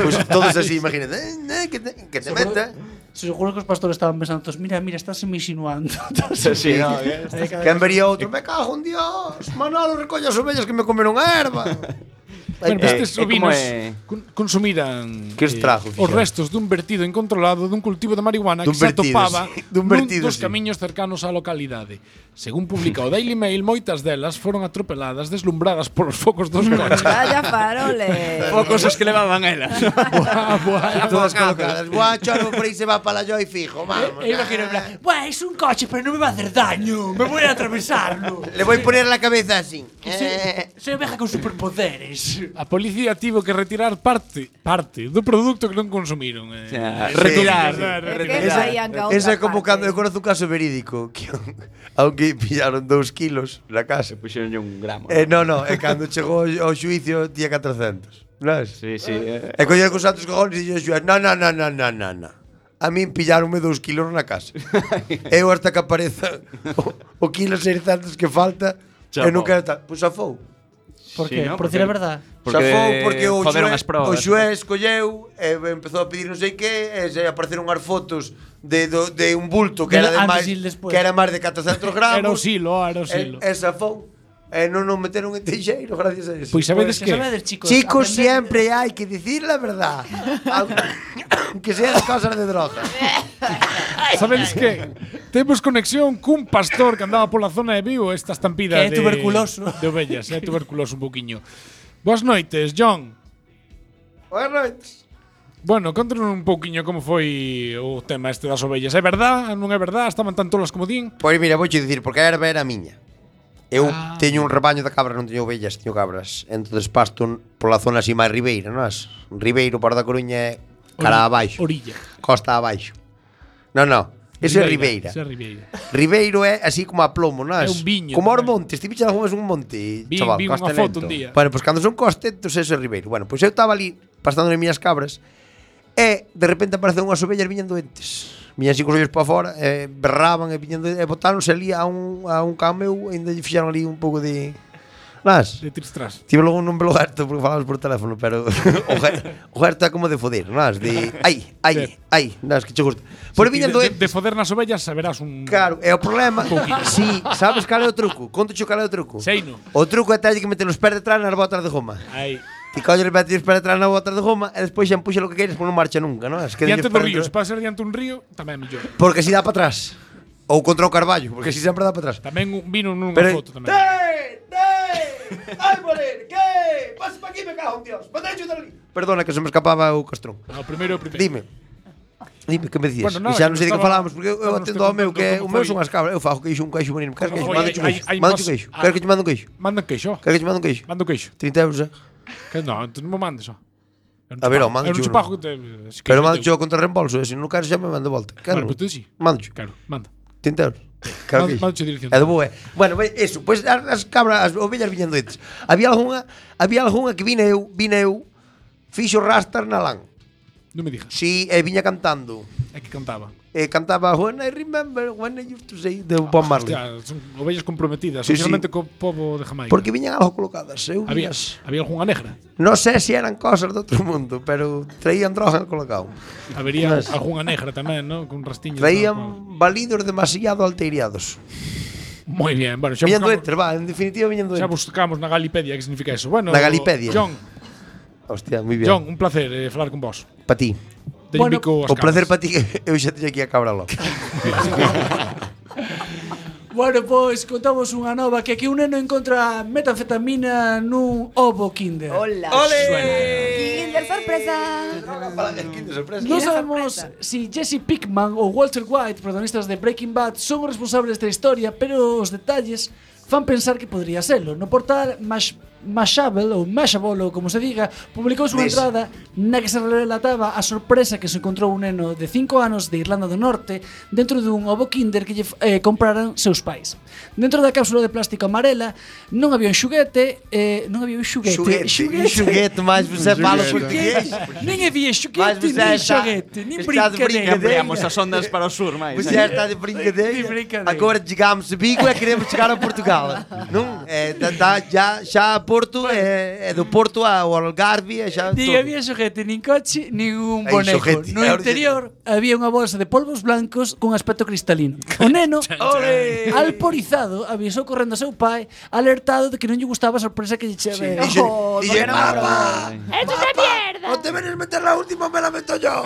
S6: pois todos así, imagínate. Eh, eh, que te, que te meta.
S12: Se seguro que os pastores estaban pensando, "Tos, mira, mira, estás me insinuando.
S7: [LAUGHS]
S6: Sí, no, eh. que han venido outro, me cago en Dios, Manolo, recolle as ovellas que me comeron a erva.
S3: Bueno, pues
S6: Eh,
S3: este estes
S6: eh, como
S3: ovinos
S6: é?
S3: con- consumiran eh,
S6: Que os trajo,
S3: os
S6: fixeron?
S3: restos dun vertido incontrolado dun cultivo de marihuana
S6: Dun
S3: que se
S6: vertido,
S3: atopaba
S6: sí. Dun vertido,
S3: nun dos
S6: sí.
S3: camiños cercanos á localidade. Según publica o Daily Mail, moitas delas foron atropeladas, deslumbradas polos focos dos coches.
S9: Vaya
S6: [LAUGHS]
S9: faroles.
S8: Pocos os que levaban elas.
S6: Todas colocadas. Buah, choro, por aí se va para la joy fijo, vamos.
S12: E imagino, en plan, "Buah, es un coche, pero non me va a hacer daño. Me voy a atravesarlo.
S6: Le voy a poner la cabeza así.
S12: Soy,
S6: Eh,
S12: soy oveja con superpoderes.
S3: A policía tivo que retirar parte parte do produto que non consumiron. Eh.
S6: retirar.
S3: Esa-
S6: Esa, esa é como cando eu conozo un caso verídico que [LAUGHS] aunque pillaron 2 kilos na casa.
S8: Puxeronlle un gramo.
S6: Eh, no, no, e cando chegou ao ao xuicio tía 400. Non
S8: Sí, sí. eh.
S6: E colleu cos santos cojones e dixo o xuez, no, no, no, no, no, no, no. A min pillaronme 2 kilos na
S8: [LAUGHS]
S6: casa. eu hasta que apareza [LAUGHS] o, o kilo 600 que falta,
S8: Chafou.
S6: eu non quero tal. Pois xafou.
S12: Por Sí, qué? ¿no? Por decir a Porque- verdad.
S6: Porque Xafou porque o
S8: joderon
S6: xuez,
S8: as probas.
S6: o xuez colleu e empezou a pedir non sei que e se apareceron unhas fotos de, do, de un bulto que
S3: Del
S6: era de
S3: antes
S6: máis
S3: e el despois.
S6: que era máis de
S3: [LAUGHS]
S6: 400 gramos.
S3: Era o silo, ah, era o silo.
S6: E, e xafou. E non nos meteron en teixeiro [LAUGHS] gracias a eso.
S3: Pois sabedes Pois que que? sabedes,
S6: chicos, chicos
S3: chicos, aprended-
S6: siempre hai que dicir la verdad. [COUGHS] Aunque sea de cosas de droga.
S3: Sabedes que temos conexión cun pastor que andaba pola zona de Vigo esta estampida
S12: Que é
S3: de,
S12: tuberculoso.
S3: de ovellas, é tuberculoso un poquinho. Boas noites, John.
S6: Boas noites.
S3: Bueno, contanos un pouquiño como foi o tema este das ovellas. É verdad? Non é verdad? Estaban tan tolas como din?
S6: Pois mira, vouche dicir, porque a erva era miña. Eu ah. teño un rebaño de cabras, non teño ovellas, teño cabras. Entonces pasto n- pola zona así máis ribeira, non as? Ribeiro para da Coruña é cara abaixo.
S3: Orilla.
S6: Costa abaixo. Non, non. Ese é Ribeira.
S3: Ese é Ribeira.
S6: Ribeiro é así como a plomo, non?
S3: É un viño
S6: Como aos montes, ti pichas algunhas un monte,
S3: Vi-
S6: chaval.
S3: vi unha
S6: Costa
S3: foto
S6: Lento.
S3: un día.
S6: Bueno, pois cando son costetos, ese é Ribeiro. Bueno, pois eu estaba ali pastando nas miñas cabras e de repente aparecen unhas ovellas viñan doentes. Viñan así cos ollos para fora, e berraban e viñan doentes, e botáronse ali a un, a un cameu e ainda lle fixaron ali un pouco de... Nas?
S3: De tristras.
S6: Tive logo un nombre gasto porque falamos por teléfono, pero [LAUGHS] o ge- o gasto está como de foder, nas? De ai, ai, ai, nas, que che gusta. Por
S3: de,
S6: viñan
S3: de,
S6: doentes.
S3: de foder nas ovellas saberás un...
S6: Claro, é o problema.
S3: Pouquiño.
S6: Si, sabes cal é o truco? Conto xo cal é o truco.
S3: Seino.
S6: O truco é terlle que meter os pés detrás nas botas de goma.
S3: Aí.
S6: Ti colles metes os pés detrás nas botas de goma e despois xa empuxa lo que queres, pero non marcha nunca, non? Es que deño
S3: Diante
S6: os
S3: do
S6: pés
S3: río,
S6: detrás.
S3: se pode ser diante un río, tamén é mellor.
S6: Porque si dá para atrás. Ou contra o carballo, porque si sempre dá para atrás.
S3: Tamén un- vino nunha
S6: Pero-
S3: foto tamén.
S6: ¡Ay, morir! ¿Qué? ¡Pasa para aquí, me cago en Dios! ¡Manda ayudar ali! Perdona, que se me escapaba o castrón.
S3: No, primeiro, primeiro.
S6: Dime. Dime que me dicías.
S3: Bueno, nada,
S6: e xa
S3: que
S6: non sei de que
S3: estaba-
S6: falábamos, porque eu, eu
S3: estaba
S6: atendo ao
S3: usted
S6: meu, que
S3: contando
S6: o meu
S3: como
S6: son as cabras. Eu fajo queixo, un queixo bonito. Queres
S3: Como
S6: queixo?
S3: foi?
S6: Manda un
S3: Hai-
S6: queixo.
S3: hai
S6: Manda un
S3: más-
S6: queixo.
S3: ah.
S6: Queres que te mande un queixo?
S3: Manda un queixo.
S6: Queres que te mande un queixo?
S3: Mando queixo.
S6: 30 euros, eh?
S3: Que non, tú non me mandes, ó. É un
S6: A ver,
S3: chupajo,
S6: ó, mando
S3: é un
S6: chulo.
S3: chupajo que te... es que
S6: Pero
S3: yo
S6: mando
S3: te-
S6: yo contra reembolso, eh, se non queres xa me mando de volta. Claro.
S3: Vale, pues tú sí.
S6: Mando yo.
S3: Claro, manda.
S6: 30 euros. Claro
S3: Mando-
S6: que
S3: mando
S6: sí.
S3: che dirección.
S6: É do boe. Bueno, ve- eso, pois as, as cabras, as ovellas viñan doentes. Había algunha, había algunha que vine eu, vine eu Fixo rastas na lan.
S3: Non me digas.
S6: Si, e viña cantando.
S3: É que cantaba.
S6: E
S3: Ah,
S6: cantaba When I remember, when I used to say, de Bob Marley.
S3: Hostia, son ovellas comprometidas,
S6: Sí, sí.
S3: especialmente co povo de Jamaica.
S6: Porque viñan algo colocadas, eu
S3: Había,
S6: vías.
S3: había algunha negra.
S6: Non sei se eran cosas do outro mundo, pero traían droga colocado.
S3: Habería
S6: Mas-
S3: algunha negra tamén, ¿no? Con rastiños. e
S6: Traían balidos demasiado alteireados.
S3: Moi bien, bueno, xa
S6: Viñan do
S3: buscamos-
S6: Enter, va, en definitiva viñan do Enter.
S3: Xa buscamos na Galipedia que significa eso. Bueno,
S6: Na Galipedia.
S3: John,
S6: Hostia, moi bien.
S3: John, un placer eh, falar con vos.
S6: Pa ti.
S3: Te Bueno, invico ás
S6: o placer pa
S3: camas.
S6: ti que [LAUGHS] eu xa teño aquí a cabra loca.
S7: Bueno, pois contamos unha nova que aquí un neno encontra metanfetamina nun ovo kinder.
S9: Hola. Kinder sorpresa.
S6: Kinder sorpresa.
S7: Non sabemos si Jesse Pickman ou Walter White, protagonistas de Breaking Bad, son os responsables da historia, pero os detalles fan pensar que podría selo. No portal Mash Mashable ou Mashable, ou como se diga, publicouse unha
S13: Des.
S7: entrada na que se relataba a sorpresa que se encontrou un neno de 5 anos de Irlanda do Norte dentro dun ovo kinder que lle eh, compraran seus pais. Dentro da cápsula de plástico amarela non había un xuguete, eh, non había un xuguete.
S6: Xuguete, un xuguete, mas você fala português.
S7: Nin havia
S6: Mas
S7: xuguete,
S6: você
S7: nin
S6: está-
S7: xuguete, nin
S6: está de
S7: brincadeira.
S8: Ampliamos as ondas para o sur, máis. eh.
S6: Você está de brincadeira?
S7: De brincadeira.
S6: Agora digamos bico é queremos chegar
S8: [LAUGHS]
S6: a Portugal. Não? É, tá, tá, já, já Porto é, é do Porto ao Algarve, é já
S7: Diga,
S6: todo.
S7: había xojete nin coche, nin un
S6: Hai
S7: boneco.
S6: xojete.
S7: No interior había unha bolsa de polvos blancos cun aspecto cristalino. O neno,
S6: [LAUGHS] Ole!
S7: alporizado, avisou correndo a seu pai, alertado de que non lle gustaba a sorpresa que lle cheve.
S6: Sí. Oh, E lle- e porque lle, non era "Mapa,
S7: ¡Esto es mierda!
S6: ¡O te venís a meter la última, me la meto
S8: [LAUGHS]
S6: yo!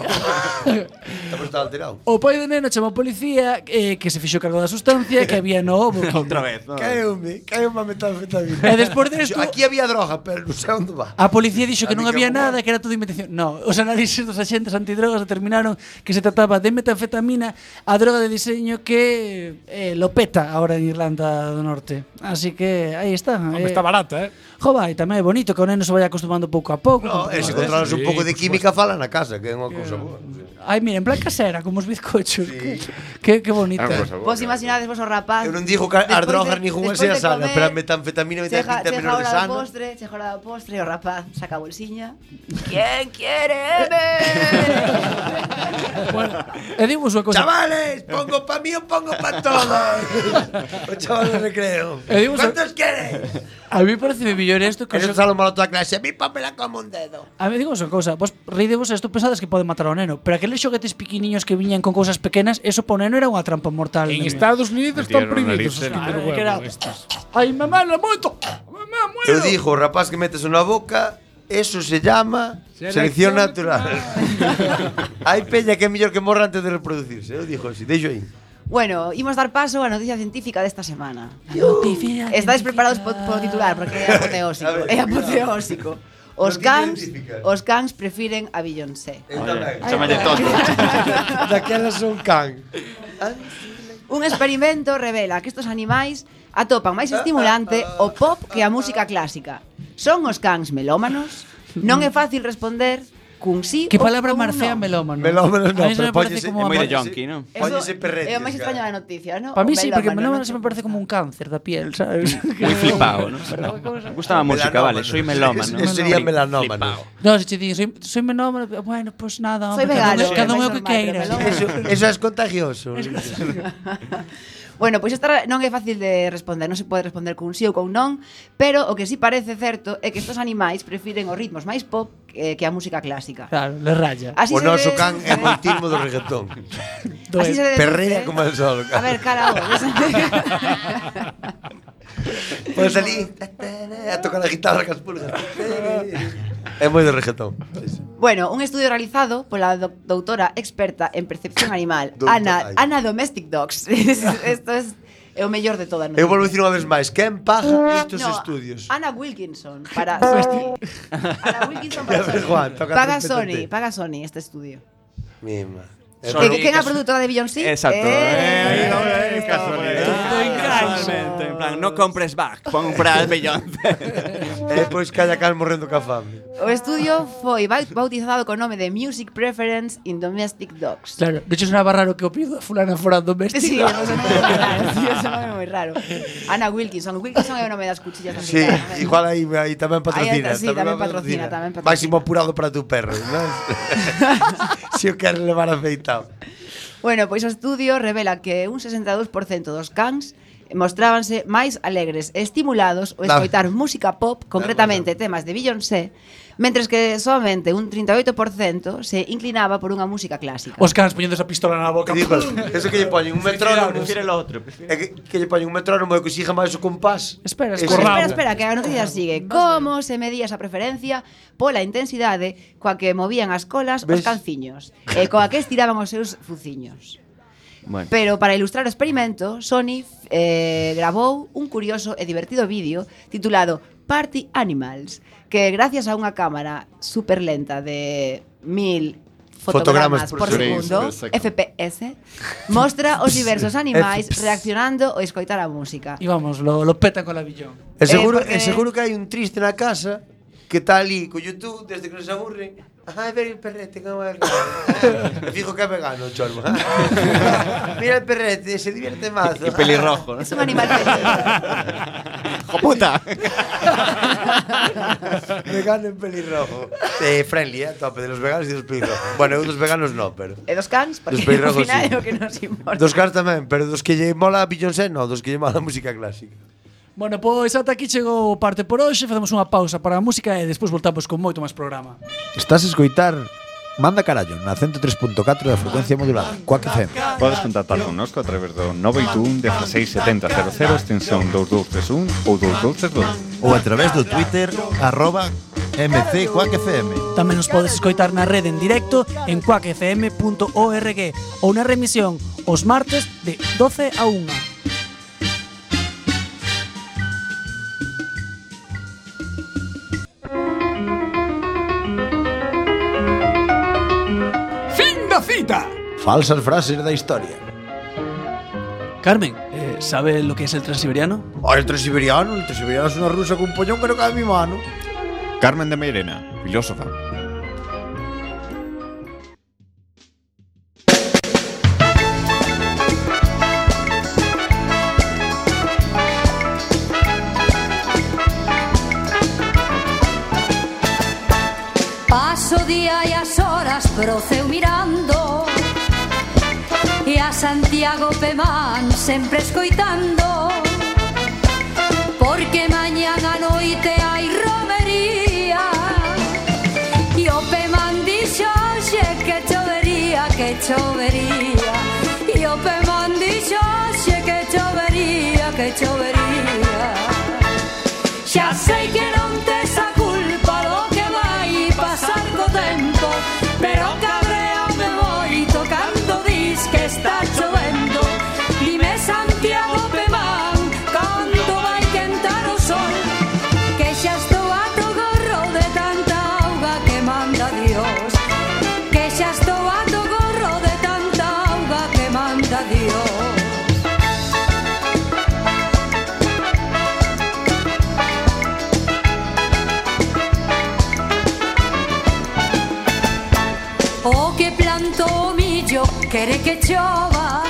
S6: Estamos está alterado.
S7: O pai do neno chamou a policía eh, que se fixo cargo da sustancia que había no
S6: [LAUGHS]
S7: ovo.
S8: Outra vez. no.
S6: Caiu-me, caiu-me a metanfetamina.
S7: E despois desto-
S6: Aquí había droga, pero non sei onde va.
S7: A policía dixo que non
S6: Así
S7: había
S6: que como-
S7: nada, que era todo invención. No, os análises dos axentes antidrogas determinaron que se trataba de metanfetamina, a droga de diseño que eh, lo peta ahora en Irlanda do Norte. Así que aí está.
S3: Hombre, está barata, eh.
S7: Jova, e tamén é bonito que o neno se vaya acostumando pouco a pouco.
S6: No, e se encontraras un pouco de química, fala na casa, que é unha cousa boa.
S7: Ai, mira, en plan casera, como os bizcochos. Que, que bonito.
S9: Vos imaginades vos o rapaz.
S6: Eu non dixo que as
S9: despois
S6: drogas
S9: Ah, de-
S6: ninguna
S9: despois
S6: sea
S9: de
S6: sana,
S9: comer,
S6: pero a metanfetamina e
S9: Cheja,
S6: metanfetamina
S9: cheja
S6: non é
S9: hora do
S6: sana.
S9: postre, cheja hora do postre, e o rapaz saca a bolsiña. [LAUGHS] ¿Quién quiere ver?
S7: E dimos unha cosa.
S6: Chavales, pongo pa mí o pongo pa todos. o chaval do recreo.
S7: E dimos-
S6: Quantos queres?
S7: A mí parece mellor isto que...
S6: Eso xa lo malo toda a clase. A mí pámela como un dedo.
S7: A ver, digo unha cousa, vos ridevos isto pensades que pode matar ao neno, pero aqueles xoguetes pequeniños que viñan con cousas pequenas, eso pa o neno era unha trampa mortal.
S3: En
S7: neno.
S3: Estados Unidos están
S6: Metieron
S3: prohibidos
S8: eh,
S6: narices.
S3: os Kinder
S7: Claro,
S3: Huevo.
S7: que era- Ai, mamá, la moito.
S6: Eu dixo, o rapaz que metes na boca, eso se llama selección
S3: Selección
S6: natural.
S7: [LAUGHS]
S6: Hai peña que é mellor que morra antes de reproducirse. Eu dixo así, deixo aí.
S9: Bueno, imos dar paso á noticia científica desta semana. Estáis preparados po- polo titular porque é apoteósico,
S6: [LAUGHS] A ver,
S9: é apoteósico. Os
S6: Noticia
S9: cans,
S6: científica.
S9: os cans prefiren a Beyoncé.
S6: Chamalle tonto.
S7: [LAUGHS]
S6: Daquela son can.
S9: Un experimento revela que estos animais atopan máis estimulante o pop que a música clásica. Son os cans melómanos? Non é fácil responder cun sí
S7: Que
S9: ou
S7: palabra
S9: cun
S7: marcea
S9: non.
S7: melómano?
S6: Melómano
S7: A mí se me parece
S6: póñese-
S7: como
S6: é moi
S7: a-
S6: de yonki, non? Póñese perretes,
S9: É o máis
S6: cara.
S9: extraño da noticia, non?
S7: Para mí
S9: O
S7: sí, porque
S9: melómano,
S7: melómano se me parece como un cáncer da piel,
S9: [LAUGHS]
S7: sabes?
S8: Muy flipado,
S7: [LAUGHS]
S8: ¿no? Me gusta la música, vale, soy melómano.
S6: Ese sería
S8: Fli-
S6: melanómano.
S7: No, se che di, soy, soy melómano, bueno, pois pues nada,
S9: Soy
S7: hombre, cada un-
S9: vegano,
S7: cada un é o que
S9: máis normal, pero
S7: queira.
S9: melómano.
S6: Eso, eso es contagioso.
S9: [LAUGHS] Bueno, pois esta non é fácil de responder, non se pode responder cun sí ou cun non, pero o que sí parece certo é que estos animais prefiren os ritmos máis pop eh, que a música clásica.
S7: Claro, le raya.
S9: Así
S6: o
S9: se
S6: noso
S9: ve-
S6: can é moi tirmo do reggaetón.
S9: Así se deduce.
S6: Perrea como el sol.
S9: ¿eh? A ver, cara, vos.
S6: [LAUGHS] Podes ali a tocar a guitarra cas pulgas. É moi do reggaetón.
S9: Bueno, un estudio realizado pola doc- doutora experta en percepción animal,
S6: Doutora,
S9: Ana,
S6: ai.
S9: Ana Domestic Dogs. [LAUGHS] Isto é é o mellor de toda a noticia.
S6: Eu volvo a dicir unha vez máis, quen paga estes
S9: No,
S6: estudios?
S9: Ana Wilkinson
S6: [LAUGHS]
S9: para Sony. Ana Wilkinson para
S6: Ya ves, Juan,
S9: Sony.
S6: toca
S9: Paga
S6: tú, tú, tú,
S9: Sony,
S6: tú.
S9: paga Sony este estudio.
S6: Mima.
S9: Que quen é a produtora de Beyoncé?
S8: Exacto. Eh,
S9: Eh, eh,
S8: eh, casualidad. Casualmente, En plan, no compres back, compras Beyoncé.
S6: E pois calla cal morrendo ca fame.
S9: O estudio foi bau- bautizado co nome de Music Preference in Domestic Dogs.
S7: Claro, de hecho sonaba raro que o pido a fulana fora doméstico.
S9: Sí, non se me moi raro. Ana Wilkinson. Wilkinson é o nome das cuchillas da
S6: Sí, igual aí, aí tamén patrocina.
S9: Aí, sí, tamén patrocina, tamén patrocina.
S6: Máximo apurado para tu perro,
S9: [LAUGHS]
S6: non? Se o queres levar afeitado.
S9: Bueno, pois o estudio revela que un 62% dos cans mostrábanse máis alegres e estimulados ao
S6: Claro.
S9: escoitar música pop, concretamente temas de Beyoncé, mentres que somente un 38% se inclinaba por unha música clásica.
S14: Os cans poñendo esa pistola na boca.
S6: Digo, eso que lle poñen un metrónomo.
S9: Prefiere
S6: o outro. É que, que lle poñen un metrónomo e que siga máis o compás.
S9: Espera,
S6: Ese-
S9: Espera, espera, que a noticia sigue. Como se medía esa preferencia pola intensidade coa que movían as colas os
S1: Ves?
S9: calciños e coa que estiraban os seus fuciños.
S1: Bueno.
S9: Pero para ilustrar o experimento, Sony f- eh, grabou un curioso e divertido vídeo titulado Party Animals, que gracias a unha cámara super lenta de mil fotogramas,
S6: Fotogramas por
S9: por
S6: segundo.
S9: segundo,
S6: Frames per second.
S9: FPS, mostra os diversos animais reaccionando ao escoitar a música.
S15: Y vamos,
S9: [LAUGHS]
S15: lo, lo peta con la billón.
S6: E seguro,
S9: Eh, porque-
S6: e seguro que hai un triste na casa que está ali co YouTube desde que nos aburre. Ajá, ver el perrete, como
S8: [LAUGHS]
S6: é Me fijo que é vegano, o chorbo.
S9: [LAUGHS]
S6: Mira
S1: eh,
S6: el perrete, [LAUGHS] se divierte mazo.
S1: Y pelirrojo, ¿no?
S6: Es
S9: un
S6: [LAUGHS]
S9: animal
S1: ¡Hijo puta!
S6: Vegano en pelirrojo. Eh, friendly, eh, tope de los veganos y de los pelirrojos. Bueno, eu dos veganos no, pero.
S9: E dos cans, porque
S6: Dos perros,
S9: ao final
S6: sí.
S9: é o que nos importa.
S6: Dos cars tamén, pero dos que lle mola a Beyoncé, no, dos que lle mola a música clásica.
S15: Bueno, pois ata aquí chegou o parte por hoxe Facemos unha pausa para a música e despois voltamos con moito máis programa
S6: Estás a escoitar Manda Carallo na 103.4 da frecuencia modulada, Quack FM.
S11: Podes contactar connosco a través do 921 16 70 00 extensión 2231 ou 2232
S16: ou a través do Twitter arroba MC Quack FM.
S7: Tamén nos podes escoitar na rede en directo en cuacfm.org ou na remisión os martes de 12 a 1.
S3: Fin da cita.
S6: Falsas frases da historia.
S7: Carmen, ¿sabes lo que es el transiberiano?
S6: Oh, el transiberiano, el transiberiano es una rusa con un pollón que no cabe en mi mano.
S11: Carmen de Mairena, filósofa
S17: Paso día e as horas proceu mirando E a Santiago Pemán sempre escoitando Porque mañán a noite hai romería E o Pemán dixo hoxe que chovería, que chovería E o Pemán dixo hoxe que chovería, que chovería Xa sei que non tes a culpa do que vai pasar co tempo Pero cabreame moito cando dis que está chovendo Dime Santiago Pemán, cando vai quentar o sol Que xa estou a to gorro de tanta auga que manda Dios Que xa estou a to gorro de tanta auga que manda Dios O que plantou o millo quere que chova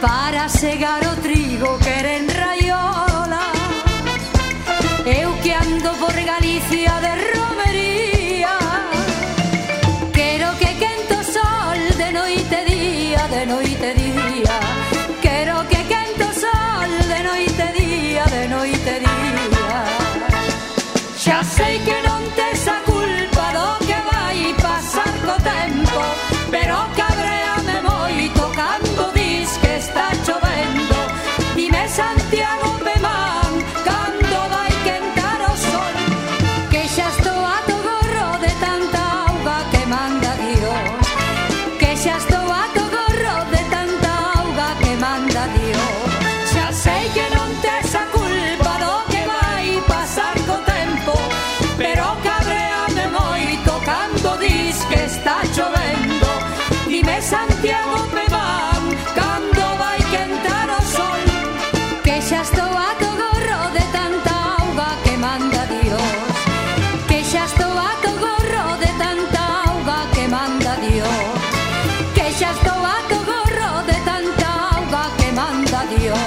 S17: Para segar o trigo queren raiola Eu que ando por Galicia de romería Quero que quento sol de noite e día, de noite e día Quero que quento sol de noite e día, de noite e día Xa sei que non tes a culpa do que vai pasar co tempo Pero cabreame moito cando dis que está chovendo Dime Santiago Pemán, cando vai quentar o sol Que xa estou a to gorro de tanta auga que manda Dios Que xa estou a to gorro de tanta auga que manda Dios Xa sei que non tes a culpa do que vai pasar co tempo Pero cabreame moito cando dis que está chovendo Dime Santiago Pemán, cando vai quentar o sol Que xa estou a to gorro de tanta auga que manda Dios Que xa estou a to gorro de tanta auga que manda Dios Que xa estou a to gorro de tanta auga que manda Dios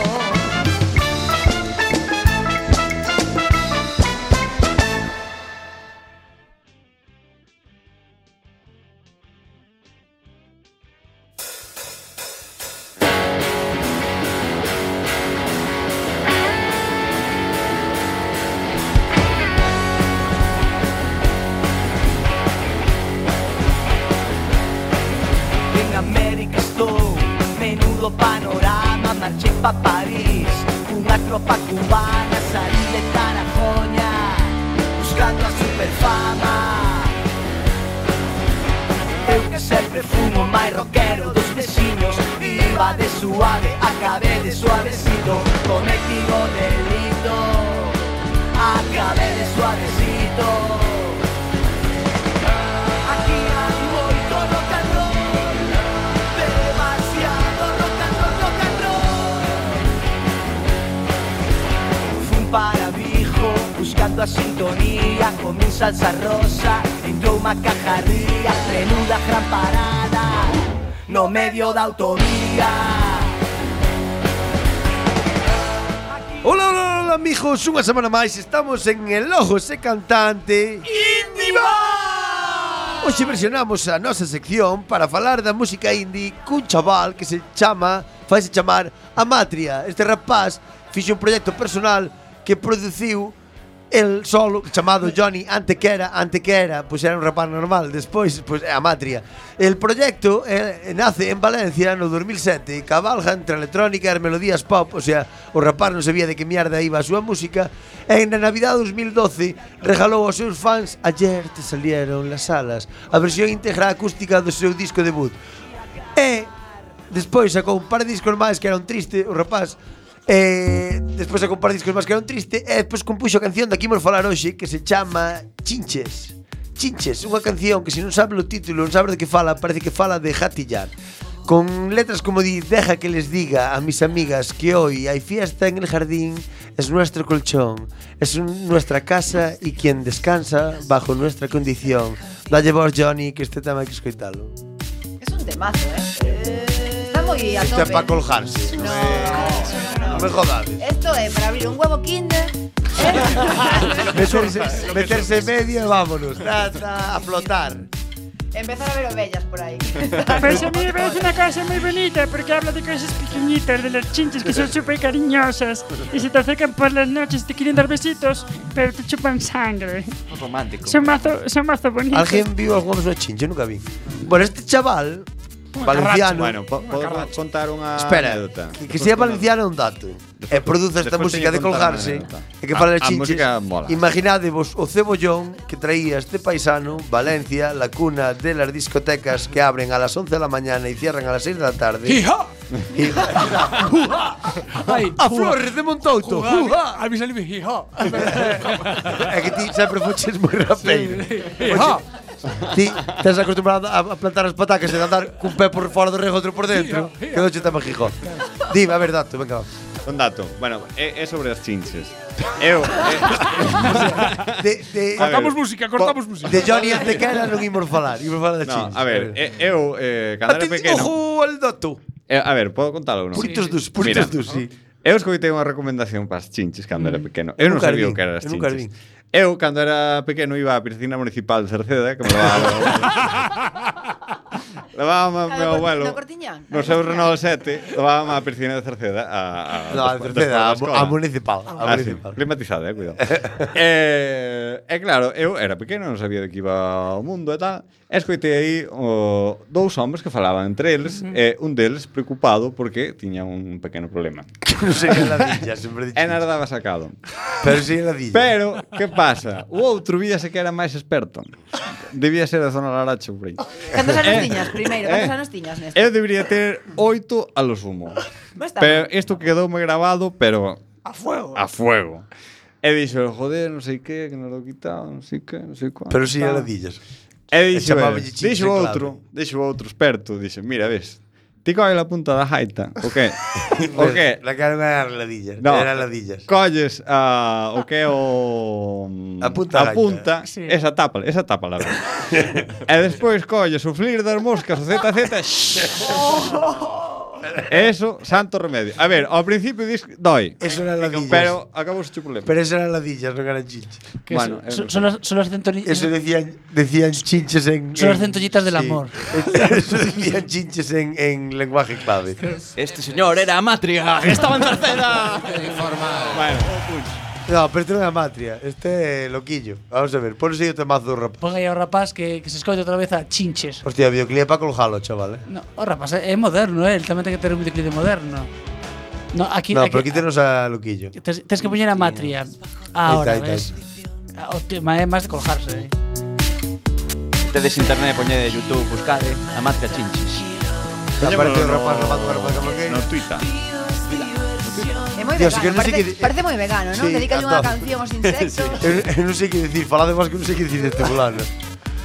S1: pa París Unha tropa cubana salí de Tarajoña Buscando a superfama Eu que sempre fumo máis rockero dos veciños Iba de suave, acabé de suavecito Cometí o delito Acabé de suavecito Aquí hai moito rock and roll Demasiado rock and roll, rock and roll Fun para Vigo Buscando a sintonía Comín salsa rosa Entrou unha cajarría Menuda gran parada No medio da autovía
S6: Hola, hola, hola, mijos. Unha semana máis estamos en El Ojo Se Cantante. Hoxe versionamos a nosa sección para falar da música indie cun chaval que se chama, faise chamar Amatria. Este rapaz fixo un proxecto personal que produciu el solo chamado Johnny Antequera, Antequera, pois era un rapaz normal, despois pois é Amatria. El proxecto eh, nace en Valencia no 2007 e cabalga entre a electrónica e as melodías pop, o sea, o rapaz non sabía de que mierda iba a súa música, e na Navidad 2012 regalou aos seus fans Ayer te salieron las alas, a versión íntegra acústica do seu disco debut. E despois sacou un par de discos máis que eran triste, o rapaz E despois sacou un par de discos máis que eran triste E despois compuxo a canción da que imos falar hoxe Que se chama Chinches Chinches, unha canción que se non sabe o título Non sabe de que fala, parece que fala de jatillar Con letras como di Deja que les diga a mis amigas Que hoy hai fiesta en el jardín Es nuestro colchón Es un- nuestra casa Y quien descansa bajo nuestra condición Dalle vos, Johnny, que este tema hai que escoitalo
S9: Es un temazo, ¿eh? Está muy a
S6: Este é
S9: tope.
S6: para colgarse
S9: No,
S6: Non me, non me jodades
S9: Esto es para abrir un huevo kinder.
S6: [LAUGHS]
S9: ¿eh?
S6: Meterse, meterse en medio e vámonos. Ta, ta, a flotar.
S9: [LAUGHS] Empezar a ver ovellas por ahí.
S18: Pues a mí me parece una cosa muy bonita porque habla de cosas pequeñitas, de las chinches que son súper cariñosas y se te acercan por las noches, te quieren dar besitos, pero te chupan sangre.
S8: Romántico.
S18: Son mazo, son mazo bonitos.
S6: Alguén viu algunha persoa chinche? Eu nunca vi. Bueno, este chaval valenciano...
S11: Bueno, po- podo contar unha
S6: Espera,
S11: anécdota.
S6: que, que sea valenciano é un dato. E produce esta
S11: despois
S6: música
S11: teño
S6: de
S11: que contar
S6: colgarse
S11: unha anécdota. Ah,
S6: e que fala de
S11: A- a
S6: chinches.
S11: música mola.
S6: [LAUGHS]
S11: [LAUGHS]
S6: Imaginadevos o cebollón que traía este paisano, Valencia, la cuna de las discotecas que abren a las 11 de la mañana y cierran a las 6 de la tarde.
S19: ¡Hija!
S6: a flores de Montouto.
S19: A mí salió hija.
S6: É que ti sempre fuches moi rapeiro.
S19: Hija.
S6: Ti estás acostumbrado a a plantar as patacas e a andar cun pé por fora do rego e outro por dentro. Que non che tama Gijón. Dime, a ver, dato, venga. va.
S11: Un dato. Bueno, é, é sobre as chinches. [LAUGHS] Eu...
S6: De, de,
S11: Cortamos
S19: música, cortamos música.
S6: De Johnny Antequera non imos falar, imos falar de
S11: No,
S6: chinches.
S11: a ver, e- eu, eh, cando era
S6: Atención,
S11: pequeno...
S6: Ojo al dato.
S11: Eh, a ver, podo contalo ou non?
S6: Puritos Sí. dos, puritos
S11: Mira,
S6: dos, sí.
S11: Eu escoitei unha recomendación para as chinches cando era pequeno. Eu non
S6: Nunca
S11: sabía
S6: vi,
S11: o que eran as
S6: eu nunca
S11: chinches. Eu, cando era pequeno, iba á piscina municipal de Cerceda, que me
S6: [LAUGHS]
S11: levaba... levaba
S9: La
S11: meu
S9: cor-
S11: abuelo...
S9: la cortiña.
S11: No seu Renault 7, levaba á piscina de Cerceda a... a
S6: No, a
S11: despo-
S6: Cerceda,
S11: despois da
S6: a-
S11: escola.
S6: a municipal, a
S11: Ah, sí,
S6: municipal.
S11: Climatizada, eh, cuidado. [LAUGHS] eh, e claro, eu era pequeno, non sabía de que iba o mundo e tal. E escoitei aí o, dous homes que falaban entre eles
S6: Ujú.
S11: e un deles preocupado porque tiña un pequeno problema.
S6: Non sei que ladilla, sempre dixo.
S11: E nada daba sacado.
S6: Pero si ladilla.
S11: Pero, que pasa? O outro víase que era máis experto. Debía ser da zona Laracho, por aí.
S9: ¿Cuántos años
S11: Eh,
S9: tiñas primero?
S11: eh.
S9: ¿Cuántos años tiñas, Néstor?
S11: Eu debería ter oito a lo sumo.
S9: No está
S11: Pero
S9: mal.
S11: isto quedou moi grabado, pero
S9: A fuego.
S11: a fuego. E dixo, joder, non sei que, que nos lo quitaron, non sei que, non sei cuánto.
S6: Pero si
S11: tal".
S6: ladillas.
S11: E dixo,
S6: chamaba
S11: el,
S6: chinche
S11: dixo
S6: clave.
S11: outro, dixo outro experto, dixo, mira, ves, ti coge la punta da jaita, o que? o que?
S6: La cara non era ladillas,
S11: No,
S6: era ladillas.
S11: colles a, o que é o...
S6: [LAUGHS]
S11: A
S6: punta
S11: a
S6: gaita.
S11: punta
S6: Sí.
S11: esa tapa, esa tapa
S6: [LAUGHS]
S11: la vez. e despois colles o flir das moscas, o ZZ, [LAUGHS]
S1: Oh,
S11: Eso, santo remedio. A ver, ao principio dis doi.
S6: Eso eran ladillas.
S11: Pero acabou o problema.
S6: Pero eso eran ladillas, non eran chinches.
S11: Que Bueno,
S6: eh,
S11: eso-
S7: Son las, son las centoni-
S6: Eso decían, decían chinches en.
S7: Son las
S6: en-
S7: centollitas del
S6: sí.
S7: amor.
S6: [LAUGHS] Eso decían chinches en, en lenguaje clave.
S8: Este señor era Amatria, Ah, estaba en Cerceda.
S6: No, pero este non é a matria, este é loquillo. Vamos a ver, ponse aí o temazo do rapaz.
S7: Pon aí ao rapaz que, que se escoite outra vez a chinches.
S6: Hostia, videoclip é para colgalo, chaval, eh.
S7: No, o rapaz é, é moderno, eh, el tamén ten que ter un videoclip moderno. No, aquí,
S6: No,
S7: aquí-
S6: pero quítenos a Luquillo.
S7: Tens, tens que poñer a Matria. Ahora,
S6: Ahí está, ahí
S7: ves. Ah, hostia, ma- é máis de colgarse. eh.
S8: Tedes internet, poñede YouTube, buscade a Matria Chinchis.
S6: Aparece un rapaz, rapaz, rapaz, rapaz, que-
S8: No tuita.
S9: É moi
S6: Dios,
S9: vegano,
S6: que non sei
S9: parece,
S6: que-
S9: parece moi vegano, non?
S6: Sí,
S9: Dedícalle
S6: a
S9: unha
S6: todo. [LAUGHS]
S9: canción aos insectos.
S6: Eu- eu non sei que dicir, falade máis que non sei que dicir deste fulano.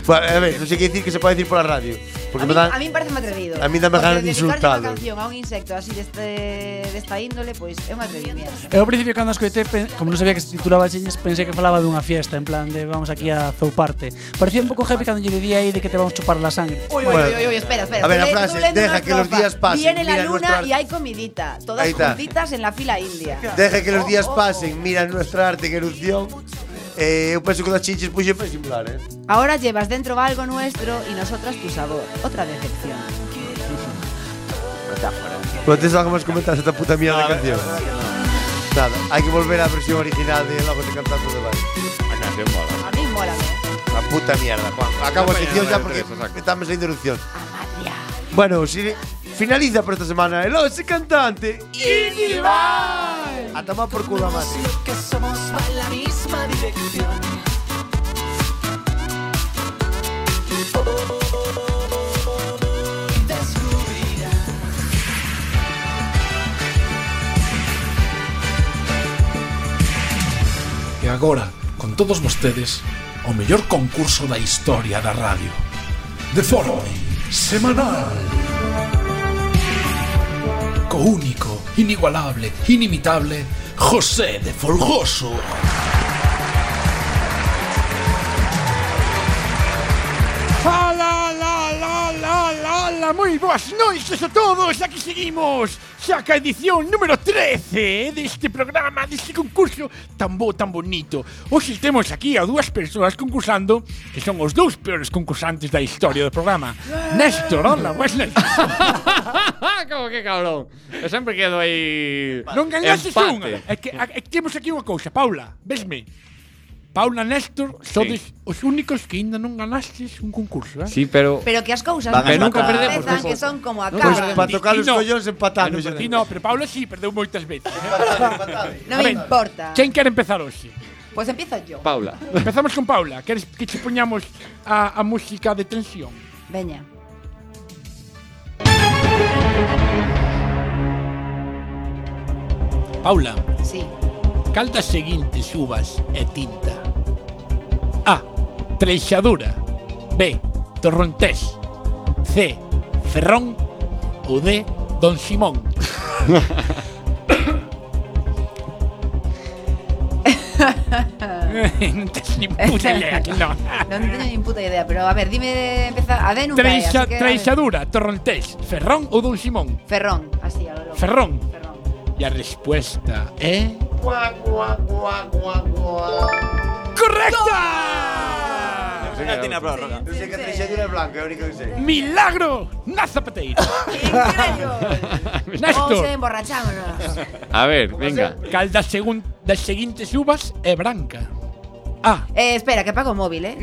S6: Bueno, a ver, non sei que dicir que se pode dicir pola radio. Porque
S9: A
S6: me
S9: mí,
S6: dan...
S9: a mí parece atrevido.
S6: a mí dame
S9: Porque
S6: ganas de
S9: dedicarlle Unha
S6: insultalo.
S9: canción a un insecto así deste, desta índole, pois é un atrevimiento.
S7: Eu ao principio cando escoitei, pen- como non sabía que se titulaba Cheñes, pensei que falaba dunha fiesta, en plan de vamos aquí a zouparte. Parecía un pouco heavy cando lle dicía aí de que te vamos chupar la sangre.
S9: Uy, uy, uy, uy, uy, espera, espera.
S7: a ver, la
S9: Tú le-
S7: frase,
S9: tú leyendo
S7: deja
S9: una
S7: que los
S9: estrofa.
S7: días pasen,
S9: Viene la
S6: mira
S9: luna
S6: nuestra-
S9: y hay comidita. Todas
S6: Ahí está.
S9: juntitas en la fila india.
S6: Deja que los días
S9: Oh, oh.
S6: pasen, mira nuestra arte en erupción. Eh, eu penso que das chinches puxe para simular, eh.
S9: Ahora llevas dentro algo nuestro y nosotras tu sabor. Otra decepción.
S6: Pero tens algo máis comentar esta puta mierda de canción. Nada, hai que volver á versión original de Logo de
S11: [LAUGHS]
S6: Cantando de Baile.
S11: A canción mola.
S9: A mí mola.
S6: La puta mierda, Juan. Acabo a sección ya porque estamos en erupción. Bueno, si finaliza por esta semana el Ose Cantante. A tomar por culo a Mati.
S1: que somos va en la misma dirección. Descubrirá.
S4: E agora, con todos vostedes, o mellor concurso da historia da radio. De forma semanal. Co único, inigualable, inimitable, José de Folgoso.
S3: Fala, la, la, la, la, la, moi boas noites a todos, aquí seguimos Xa ca edición número 13 deste programa, deste concurso tan bo, tan bonito Hoxe temos aquí a dúas persoas concursando Que son os dous peores concursantes da historia do programa Néstor, hola, boas noites
S11: Ah, Como que cabrón. Eu sempre quedo aí.
S3: Non ganhaste
S11: empate.
S3: unha É que, é que temos aquí unha cousa, Paula, vesme Paula, Néstor, sodes os únicos que aínda non ganastes un concurso, eh?
S11: Sí, pero
S9: Pero que as cousas
S11: Van a
S9: que
S11: empatar. Nunca perdemos,
S9: Empezan
S11: por
S9: que son como a cabra.
S11: Nunca perdemos. Pa tocar os
S3: Ti no.
S11: collóns
S6: empatamos,
S3: Ah, non,
S6: xa
S3: ti
S6: non.
S3: no, pero Paula sí, perdeu moitas veces. eh.
S9: Non me importa.
S3: Quen quer empezar hoxe?
S9: Pois empiezo yo. [LAUGHS]
S11: Paula.
S3: Empezamos con Paula. Queres que che poñamos a, a música de tensión?
S9: Veña.
S3: Paula,
S9: Sí.
S3: cal das seguintes uvas e tinta? A. Treixadura. B. Torrontés. C. Ferrón. Ou D. Don Simón. [LAUGHS] non tens ni puta
S9: [LAUGHS]
S3: idea, que non.
S9: non teño nin puta idea, pero a ver, dime de empezar. A de nunca é,
S3: Treixa,
S9: así que, a ver.
S3: treixadura, torrontés, ferrón ou Don Simón?
S9: Ferrón, así, a lo loco.
S3: Ferrón. E a resposta é...
S6: Non tiene prórroga. Non sei que trexadura é blanca, é o único que sei.
S3: Milagro na
S11: [LAUGHS]
S3: zapateira.
S6: [LAUGHS]
S9: Ou
S3: Néstor.
S9: se eh, emborrachámonos.
S11: A ver, venga.
S3: Cal das, segun, das seguintes uvas é branca.
S9: Eh, espera, que pago o móvil, eh.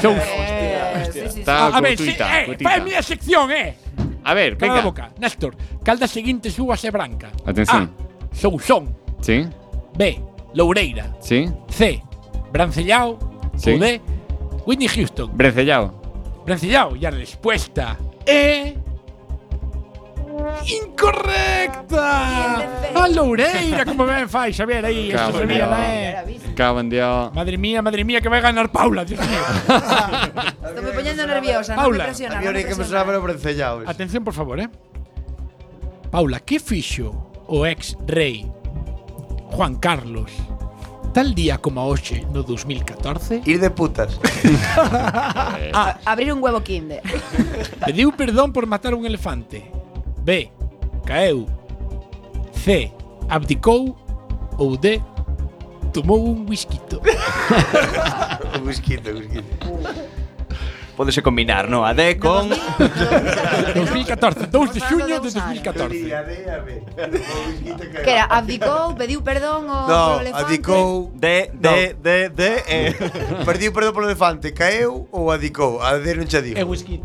S3: Son
S9: eh sí, sí, sí.
S11: Está
S3: a ver,
S11: curtita,
S3: sí, eh,
S11: curtita.
S3: pa é a miña sección, eh.
S11: A ver,
S3: Cala a
S11: venga.
S3: boca. Néstor, cal das seguintes uvas é branca.
S11: Atención.
S3: A, sousón.
S11: Sí,
S3: B, loureira.
S11: sí.
S3: C, brancellao.
S11: Sí.
S3: Ou D, Whitney Houston.
S11: Brencellao.
S3: Brancellao, e a resposta é... Incorrecta! A loureira, como ben fai, Xavier, aí,
S11: Cago
S3: eso
S11: en
S3: se mira,
S11: Dios.
S3: eh.
S11: Cabo en día.
S3: Madre mía, madre mía, que vai ganar Paula, Dios mío.
S9: [LAUGHS] Estou me poñendo nerviosa, non me
S3: Paula.
S9: presiona,
S3: A mí
S9: non me
S3: ahora que me
S9: presiona.
S6: Pero brencellao. ese.
S3: Atención, por favor, eh. Paula, que fixo o ex rei Juan Carlos tal día como hoxe no 2014?
S6: Ir de putas.
S9: A- abrir un huevo kinder.
S3: Pediu perdón por matar un elefante. B. Caeu. C. Abdicou. Ou D. Tomou un whisquito.
S6: Un whisquito, un whisquito.
S8: Podese combinar, no? A D con...
S3: 2014, 2 de xuño de 2014.
S9: Que era, abdicou, pediu perdón ao ao
S6: No,
S9: elefante.
S6: adicou. De, de, de, de. [LAUGHS] Eh. Perdiu perdón polo elefante, caeu ou adicou? A de non xa digo.
S9: whisky.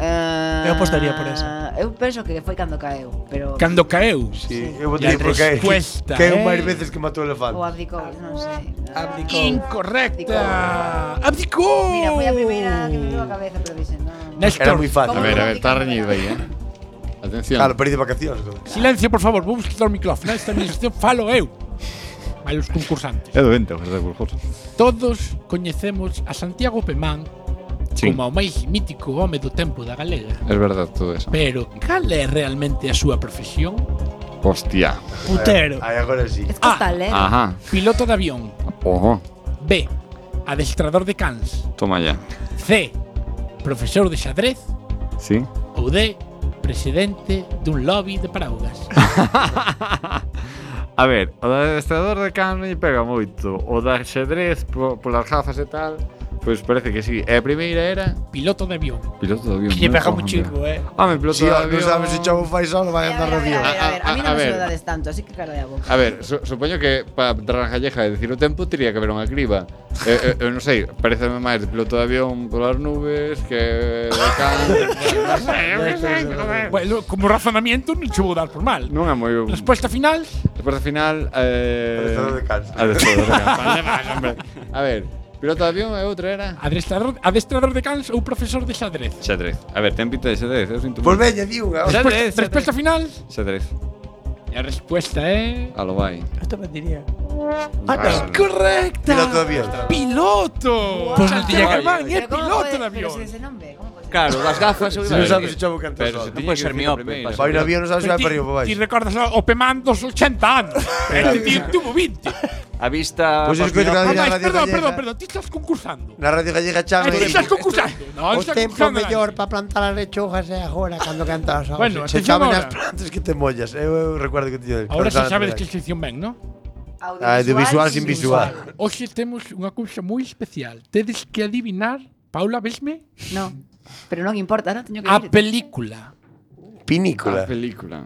S9: Eh,
S20: Eu apostaría por esa.
S9: Eu penso que foi cando caeu, pero
S3: Cando caeu?
S6: Sí, eu votei por caer.
S3: Respuesta,
S6: Caeu
S3: eh?
S6: máis veces que matou o elefante.
S9: ou abdicou, non sei.
S3: Abdicou. Incorrecta. Abdicou.
S9: Mira, foi a primeira que me deu a cabeza, pero dixen, non.
S3: Néstor.
S6: fácil.
S11: A ver, a ver, está reñido aí, eh. Atención.
S6: Claro, pero de vacacións. non?
S3: Silencio, por favor, vou buscar o micrófono. Esta minha xestión falo eu. A los concursantes.
S11: É doente, José Burjoso.
S3: Todos coñecemos a Santiago Pemán como o máis mítico home do tempo da galega.
S11: Es verdad todo eso.
S3: Pero, cal é realmente a súa profesión?
S11: Hostia.
S3: Putero.
S6: Aí agora sí.
S9: Costalero.
S11: Ajá.
S3: Piloto de avión.
S11: Ojo.
S3: B. Adestrador de cans.
S11: Toma ya.
S3: C. Profesor de xadrez.
S11: Sí.
S3: Ou D. Presidente dun lobby de paraugas.
S11: A ver, o da adestrador de can me pega moito. O da xadrez po, polas gafas e tal, pois parece que sí. E a primeira era
S3: Piloto de avión.
S11: piloto de avión.
S3: Que lle
S11: non
S3: pega
S11: cojo,
S3: un chico, eh.
S8: Ah,
S11: Home, piloto
S6: Si
S11: de
S6: non
S11: avión.
S6: sabes se chavo fai solo, vai
S9: A
S6: andar
S9: ver, a ver,
S6: rodeo.
S9: a ver, a ver, a mí
S11: A- a-
S9: non me
S11: a ver.
S9: saudades tanto, así que cara de a boca.
S11: A ver, su, supoño que para entrar a Calleja e dicir o tempo teria que haber unha criba. Eu, eu, eu non sei, pareceme máis piloto de avión polas nubes que de
S6: [LAUGHS]
S11: can. non sei, eu que sei, joder.
S3: Bueno, como razonamiento non che vou dar por mal.
S11: Non é moi
S3: Respuesta final.
S11: Respuesta final. Eh,
S3: Adestrador de cans.
S11: Adestrador de cans. [LAUGHS] Vale, vale, hombre. A ver, piloto de avión e outra era.
S3: Adestrador, adestrador de cans ou profesor de xadrez.
S11: Xadrez. A ver, ten pinta de xadrez, eu sinto.
S6: Pois
S11: moito.
S6: veña, di unha.
S3: Respuesta, respuesta final.
S11: Xadrez.
S3: E a respuesta é...
S11: A lo vai.
S3: Esto me diría.
S11: Ah, no.
S3: Ah, correcta.
S11: Piloto de avión.
S3: Piloto.
S11: Pues
S3: Santiago
S11: no tiene que-
S3: Armán, é
S9: Pero como
S3: piloto
S9: pode-
S3: de avión.
S9: Pero se ese nombre, como pode?
S8: Claro, das gafas. eu
S6: Se
S8: iba a
S6: non
S8: decir.
S6: sabes se chavo cantar
S8: Pero se Non
S6: solo.
S8: tiña pode que ser decir miope, primeiro. pasa
S6: Vai no
S8: nada.
S6: avión, non sabes se
S3: Pero
S6: vai para
S3: ti-
S6: arriba ou para
S3: Ti
S6: baixo.
S3: recordas o o Pemán dos 80 anos. Este tío tuvo 20.
S8: A vista.
S6: Pois
S8: pos
S6: escoito
S8: miopes.
S6: cada día na radio
S3: Ademais, perdón,
S6: gallega.
S3: perdón, perdón, ti estás concursando.
S6: Na radio gallega
S3: Ah,
S6: chama.
S3: ti estás concursando. No,
S7: O
S3: estás
S7: tempo
S3: concursando.
S7: mellor para plantar as lechojas é agora, cando cantas a
S3: Bueno,
S6: Se
S3: atención
S6: chaman as
S3: ahora.
S6: plantas que te mollas. Eu, eu recuerdo que tiña.
S3: Ahora xa sabes que sección ben, ¿no?
S6: Audiovisual sin visual.
S3: Hoxe temos unha cousa moi especial. Tedes que adivinar, Paula, vesme?
S9: No, pero non importa, non teño que
S3: A
S9: ir.
S3: película.
S6: Pinícula.
S11: A
S3: Ah,
S11: película.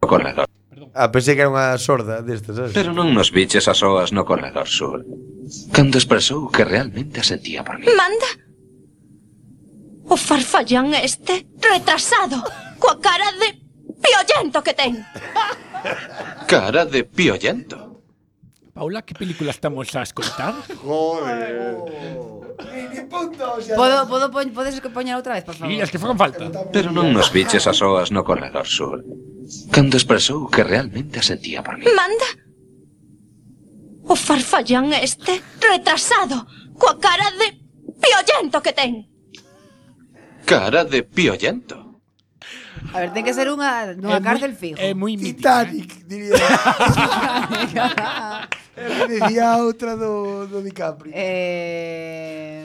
S4: O corredor.
S6: Ah, pensei que era unha sorda destas, sabes?
S4: Pero non nos viches as soas no corredor sur. Cando expresou que realmente a sentía por mí.
S21: Manda. O farfallán este retrasado, coa cara de piollento que ten.
S4: Cara de piollento.
S3: Paula, que película estamos a escoltar?
S11: Joder.
S6: Ni punto, o sea.
S9: Podo, podo, poñ- podes que poñer outra vez, por favor.
S3: as que fagan falta.
S4: Pero non nos viches as soas no corredor sur. Cando expresou que realmente a sentía por mí.
S21: Manda. O farfallán este retrasado, coa cara de piollento que ten.
S4: Cara de piollento.
S9: A ver, ten que ser unha
S3: É
S9: nunha
S3: moi-
S9: cárcel Ah, fijo.
S3: É moi mítica. Titanic,
S6: diría.
S9: [LAUGHS]
S3: [LAUGHS]
S22: Eu
S6: Dicía outra do, do DiCaprio.
S9: Eh,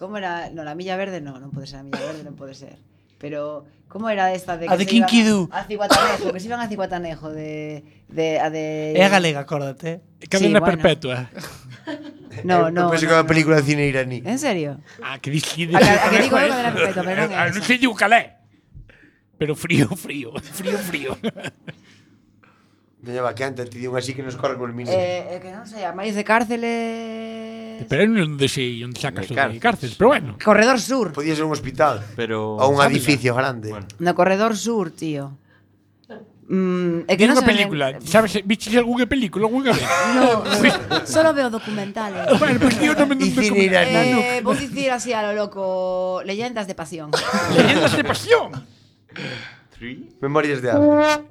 S9: como era? No, la milla verde no, non pode ser a milla verde, non pode ser. Pero como era esta de
S20: A de
S9: se iban
S20: Kinkidu.
S9: A Ciguatanejo, que se iban a Ciguatanejo de de a de
S20: É a galega, acórdate.
S9: Cadena Sí, bueno. perpetua. [LAUGHS] No, no.
S6: Pensei Eh, que era unha película de cine iraní.
S9: En serio?
S3: Ah, que ah, dixi
S9: A que- a que digo eu Cadena Perpetua, pero non é
S3: Eh, Non sei digo cal é. Pero frío, [LAUGHS] frío, frío, frío.
S6: Veña, va, que antes te di unha así que nos corre con mini.
S9: Eh, eh, que non sei, a máis de cárceles
S3: Pero eu non sei onde sacas o de cárcel, pero bueno.
S9: Corredor Sur.
S6: Podía ser un hospital.
S8: Pero...
S6: Ou un
S3: Ávila.
S6: edificio grande.
S9: no corredor sur, tío. Mm, é que
S3: Di
S9: non
S3: unha
S9: se me
S3: película, sabes, viches algunha película algunha vez?
S9: [LAUGHS] No,
S3: [LAUGHS]
S9: no, solo veo documentales.
S3: Bueno, pues tío, non me non me comenta.
S9: Eh, vou dicir así a lo loco, leyendas de pasión.
S3: Leyendas de pasión.
S6: Memorias de África.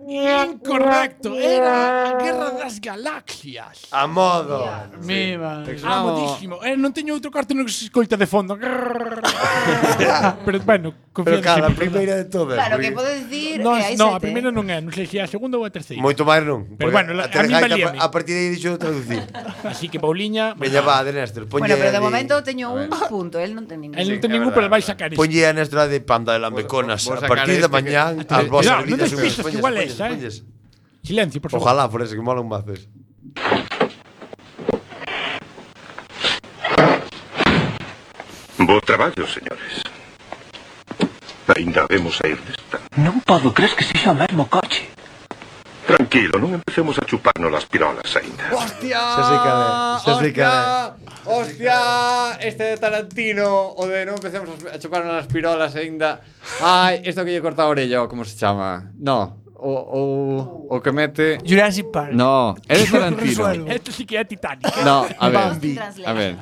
S3: Incorrecto, era a Guerra das Galaxias.
S6: A modo.
S3: Mima.
S6: Te
S3: Ah,
S6: clamo.
S3: modísimo. Eh, non teño outro cartón que se escoita de fondo. [LAUGHS] Pero bueno, confía
S6: Pero cara, a
S3: en si
S6: primeira de todas.
S9: Claro, que
S6: porque-
S9: podes dicir
S3: Non,
S9: que hai
S3: non, a
S9: sete.
S3: primeira non é, non sei se é a segunda ou a terceira.
S6: Moito máis non.
S3: Pero
S6: porque
S3: bueno, la- a mí
S6: terceira
S3: valíame.
S6: capa- A partir de aí dixo de traducir.
S3: Así que Pauliña,
S6: Veña, va, de Néstor. Ponlle
S9: bueno, pero de
S6: ali-
S9: momento teño un punto, él non ten ningún.
S3: el non ten ningún, pero vai sacar isto.
S6: Ponlle a Néstor a de panda de lambeconas.
S3: vou
S6: A
S3: sacar
S6: partir de
S3: este que-
S6: mañán, as
S3: Cuidado,
S6: vosas
S3: non
S6: vidas...
S3: despistas, que igual é esa, eh. Silencio, por favor.
S6: Ojalá fores que mola un mazes.
S2: Bo traballo, señores. Ainda vemos sair desta.
S5: Non podo crees que sexa o mesmo coche.
S2: Tranquilo, non empecemos a chuparnos as pirolas aínda.
S6: Xa sei que é, xa sei que é.
S2: Hostia,
S11: hostia, este de Tarantino o de no empecemos a chupar unas pirolas ainda. Ai, isto que lle corta a orella, o como se chama? No, o, o, o que mete...
S7: Jurassic Park.
S11: No, é de Tarantino.
S5: Esto sí que es Titanic.
S11: No, a ver. A ver.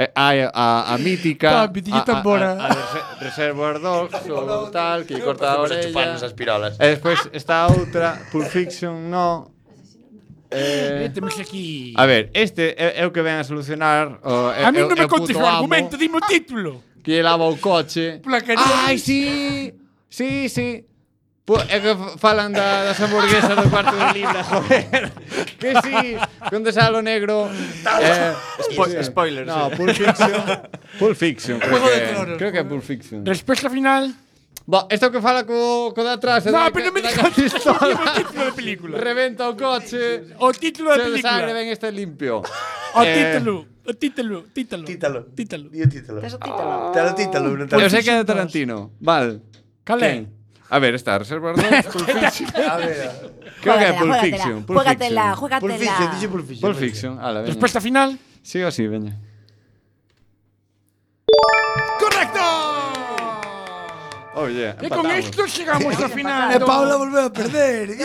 S11: Eh, hai a, a mítica,
S5: Papi, tiñe
S11: a, a,
S5: tambora.
S11: a, a Reser- Reservoir Dogs ou tal, que lle corta a
S1: Podemos
S11: orella.
S1: chuparnos as pirolas.
S11: E despois está a outra, Pulp Fiction, no. Eh,
S5: Méteme aquí.
S11: a ver, este é, é o que ven a solucionar o, é,
S5: A mí no
S11: é
S5: me
S11: é puto
S5: contes o
S11: amo
S5: argumento, dime un título.
S11: Que lle lava o coche. Ai, sí, sí, sí. Pu- É que f- falan da, das hamburguesas do cuarto de libra, [LAUGHS] joder. Que sí, con desalo negro. Eh,
S8: Spo-
S11: sí.
S8: spoilers,
S11: No,
S8: eh.
S11: Pulp Fiction. [LAUGHS] Pulp Fiction, creo
S5: Juego de
S11: que,
S5: tronos.
S11: creo que é Pulp Fiction.
S5: Respuesta final.
S11: Bo, esto que fala co, co de atrás.
S5: No, pero non me digas
S11: que
S5: o título da película.
S11: Reventa o coche.
S5: O título da
S11: Se
S5: película.
S11: sangre ven este limpio.
S5: O
S11: Eh,
S5: título, o título, título. Títalo. Títalo.
S1: Títalo. Títalo, títalo. non
S11: Eu sei
S1: talo.
S11: que é de Tarantino. Val.
S5: Cal é?
S11: Quen? A ver, está Reservoir [LAUGHS] Dogs, Pulp Fiction.
S1: A ver.
S11: Creo que é Pulp
S1: Juégatela,
S11: Fiction. Pulp
S1: juégatela,
S11: Fiction.
S1: juégatela. Pulp Fiction, dixe Pulp Fiction,
S11: Pulp
S1: Pulp
S11: Fiction. Ala, veña.
S5: Respuesta final.
S11: Sí o sí, veña.
S5: ¡Correcto!
S11: Oye,
S5: Y con esto llegamos al final.
S6: E Paula volveu a perder.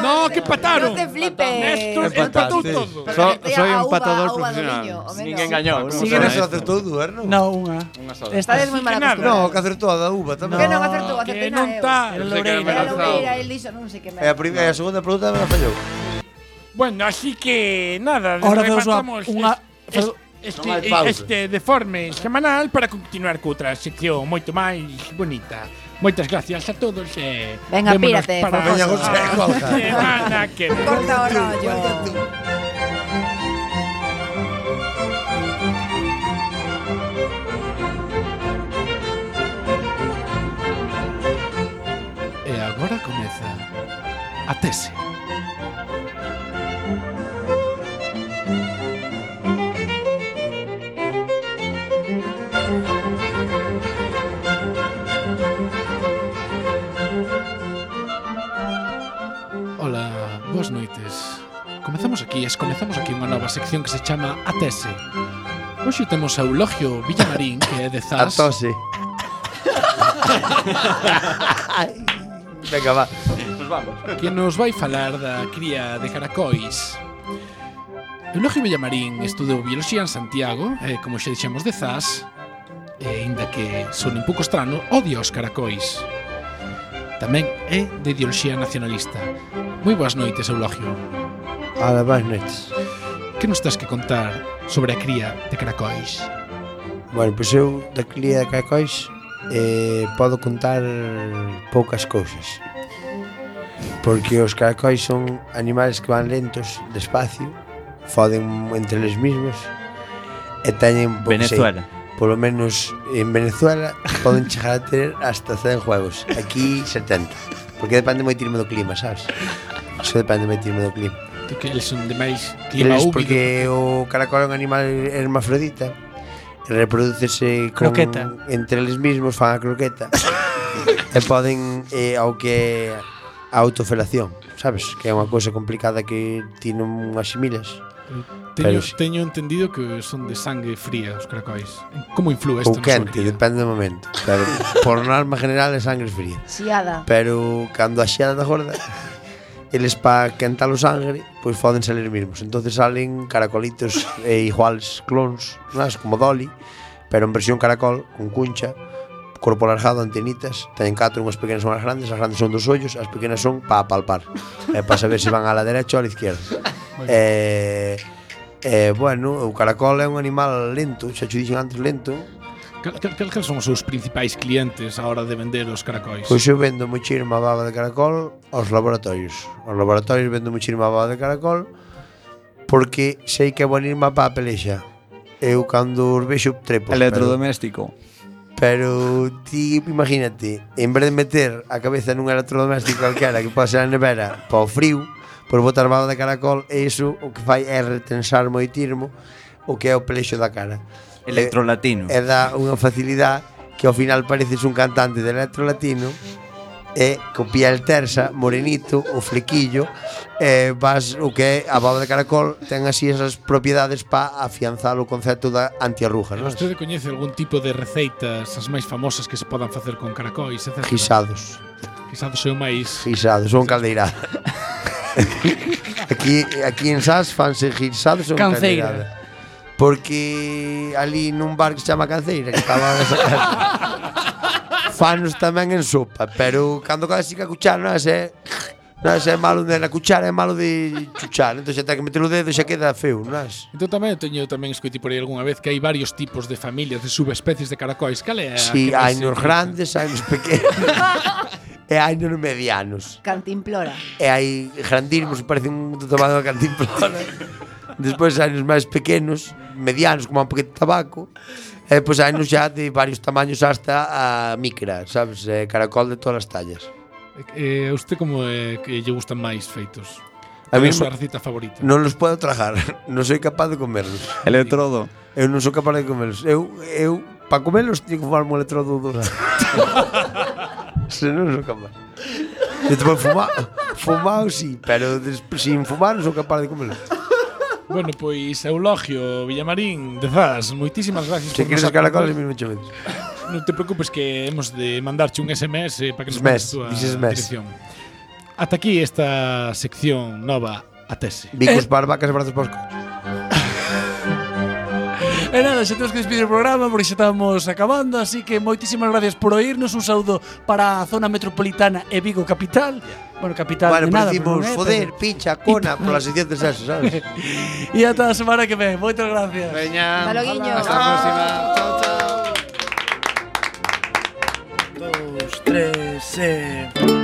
S5: No, que empataron.
S6: No te flipes.
S5: Néstor empató
S6: Empataste.
S5: todo.
S6: Pero So- que sea soy a empatador uva, a uva do profesional. viño, o menos.
S8: Ninguén gañou.
S6: Sigue non se acertou dúas, non?
S7: No, unha.
S8: Unha
S7: sola. Estades moi mal
S6: No,
S7: acostumbrados.
S6: que acertou a da uva tamén.
S9: Que non acertou, acertei
S7: non
S9: na eu.
S7: tá.
S6: Era Loureira.
S9: eh, Era Loureira, el dixo, non sei que me.
S6: E a, Eh, prim- e a segunda pregunta me la fallou.
S5: Bueno, así que nada,
S6: Ahora
S7: facemos
S5: rematamos
S7: unha-
S5: es- es- este,
S7: Non hai pausa.
S5: este deforme semanal para continuar coutra sección moito máis bonita. Moitas gracias a todos e
S9: Venga,
S5: vémonos
S9: pírate,
S5: para
S9: Veña,
S5: a
S9: José, Juanjo.
S5: semana [LAUGHS] que vem.
S9: Corta o rollo.
S3: E agora comeza a tese. Ola, boas noites. Comezamos aquí, es comezamos aquí unha nova sección que se chama A Tese. Hoxe temos a Eulogio Villamarín, que é de
S6: A
S3: Zas.
S6: tose. Venga, va.
S8: Nos vamos.
S3: que nos vai falar da cría de caracois. Eulogio Villamarín estudou Bioloxía en Santiago, e, como xa dixemos de Zas, e aínda que son un pouco estrano, odia os caracois. Tamén é de ideoloxía nacionalista. Moi boas noites, Eulogio.
S6: Ala, boas noites.
S3: Que nos tens que contar sobre a cría de caracois?
S6: Bueno, pois eu da cría de Cacois eh, podo contar poucas cousas. Porque os caracois son animales que van lentos, despacio, foden entre eles mismos e teñen, bo que sei,
S8: Venezuela.
S6: polo menos en Venezuela poden chegar a ter hasta 100 juegos. Aquí 70. Porque depende moi tirme do clima, sabes? Eso depende moi tirme do clima.
S3: Do que eles son de máis clima
S6: Eles
S3: úmido.
S6: porque o caracol é un animal hermafrodita reprodúcese con,
S7: Croqueta.
S6: entre eles mismos fan a croqueta e poden eh, ao que a autofelación, sabes? Que é unha cousa complicada que ti non asimilas.
S3: Teño,
S6: Pero sí.
S3: teño entendido que son de sangue fría os caracois. Como influe
S6: Ou
S3: isto na súa
S6: quente,
S3: cría?
S6: depende do momento. Pero por norma general é sangre fría.
S9: Xiada.
S6: Pero cando a xiada da gorda Eles pa quentar o sangre Pois foden salir mismos entonces salen caracolitos e iguales clones nas, Como Dolly Pero en versión caracol, con cuncha Corpo largado, antenitas Teñen catro, unhas pequenas son as grandes As grandes son dos ollos, as pequenas son pa palpar eh, Para saber se van a la derecha ou a la izquierda Eh, eh, bueno, o caracol é un animal lento Xa xo dixen antes lento
S3: Cal, cal, cal, cal son os seus principais clientes a hora de vender os caracois?
S6: Pois eu vendo mochirma baba de caracol aos laboratorios. Aos laboratorios vendo mochirma baba de caracol porque sei que é bonirma para a pelexa. Eu cando os vexo trepo.
S8: Electrodoméstico.
S6: Pero ti imagínate, en vez de meter a cabeza nun electrodoméstico calquera que pode ser a nevera para o frío, por botar baba de caracol, e iso o que fai é retensar moi tirmo o que é o pelexo da cara.
S8: Electrolatino.
S6: E dá unha facilidade que ao final pareces un cantante de electro latino e co piel tersa, morenito, o flequillo, e vas o que é a baba de caracol ten así esas propiedades para afianzar o concepto da antiarrugas, non?
S3: Vostede coñece algún tipo de receitas as máis famosas que se podan facer con caracois, etc.
S6: Guisados.
S3: Guisados é o máis...
S6: Guisados, son caldeirá. [LAUGHS] aquí, aquí en Sas fanse guisados son
S7: Canceira.
S6: caldeirá. Porque ali nun bar que se chama Canceira, que estaba nesa
S3: [LAUGHS]
S6: casa. Fanos tamén en sopa, pero cando casi que a cuchara non é Non é malo de na cuchara, é malo de chuchar, entón xa ten que meter o dedo e xa queda feo, non é?
S3: Entón tamén teño tamén escoiti por aí algunha vez que hai varios tipos de familias, de subespecies de caracois. Cal é a
S6: Si,
S3: que
S6: hai
S3: máis
S6: nos
S3: se-
S6: grandes, hai nos pequenos
S3: [LAUGHS]
S6: e hai nos medianos.
S9: Cantimplora.
S6: E hai grandísimos, parece un tomado de cantimplora. Despois hai nos máis pequenos, medianos, como un paquete de tabaco. E depois hai nos xa de varios tamaños hasta a micra, sabes? Eh, Caracol de todas as tallas.
S3: Eh, a usted como é que lle gustan máis feitos?
S6: A
S3: Cal é
S6: mí
S3: a súa
S6: me-
S3: recita favorita?
S6: Non los podo tragar, [LAUGHS] non soy capaz de comerlos.
S11: Electrodo.
S6: Eu non sou capaz de comerlos. Eu, eu, para comerlos, teño que fumarme un electrodo dura. [LAUGHS] Se non sou capaz. Eu te fumar, fumar, sí, pero despois, sin fumar non sou capaz de comerlos.
S3: Bueno, pois Eulogio Villamarín, de Zas, moitísimas gracias
S6: Se queres
S3: nos
S6: os caracoles,
S3: acompañar.
S6: mesmo che metes.
S3: Non te preocupes que hemos de mandarche un SMS para que nos
S6: SMS,
S3: mandes tú a
S6: dices SMS.
S3: dirección. Ata aquí esta sección nova a tese.
S6: Bicos para as vacas e brazos para os coches.
S7: E nada, xa temos que despedir o programa porque xa estamos acabando, así que moitísimas gracias por oírnos, un saúdo para a zona metropolitana e Vigo capital. Bueno, capital
S6: Bueno,
S7: de
S6: pero
S7: nada,
S6: dicimos,
S7: pero non é,
S6: foder,
S7: pero-
S6: pincha, cona, por las
S7: [LAUGHS]
S6: sección de sexo, sabes?
S7: E ata a semana que ven. Moitas gracias. Veña.
S9: Hasta logo, guiño.
S7: Hasta a próxima. Chao,
S1: chao. Dos, tres, eh.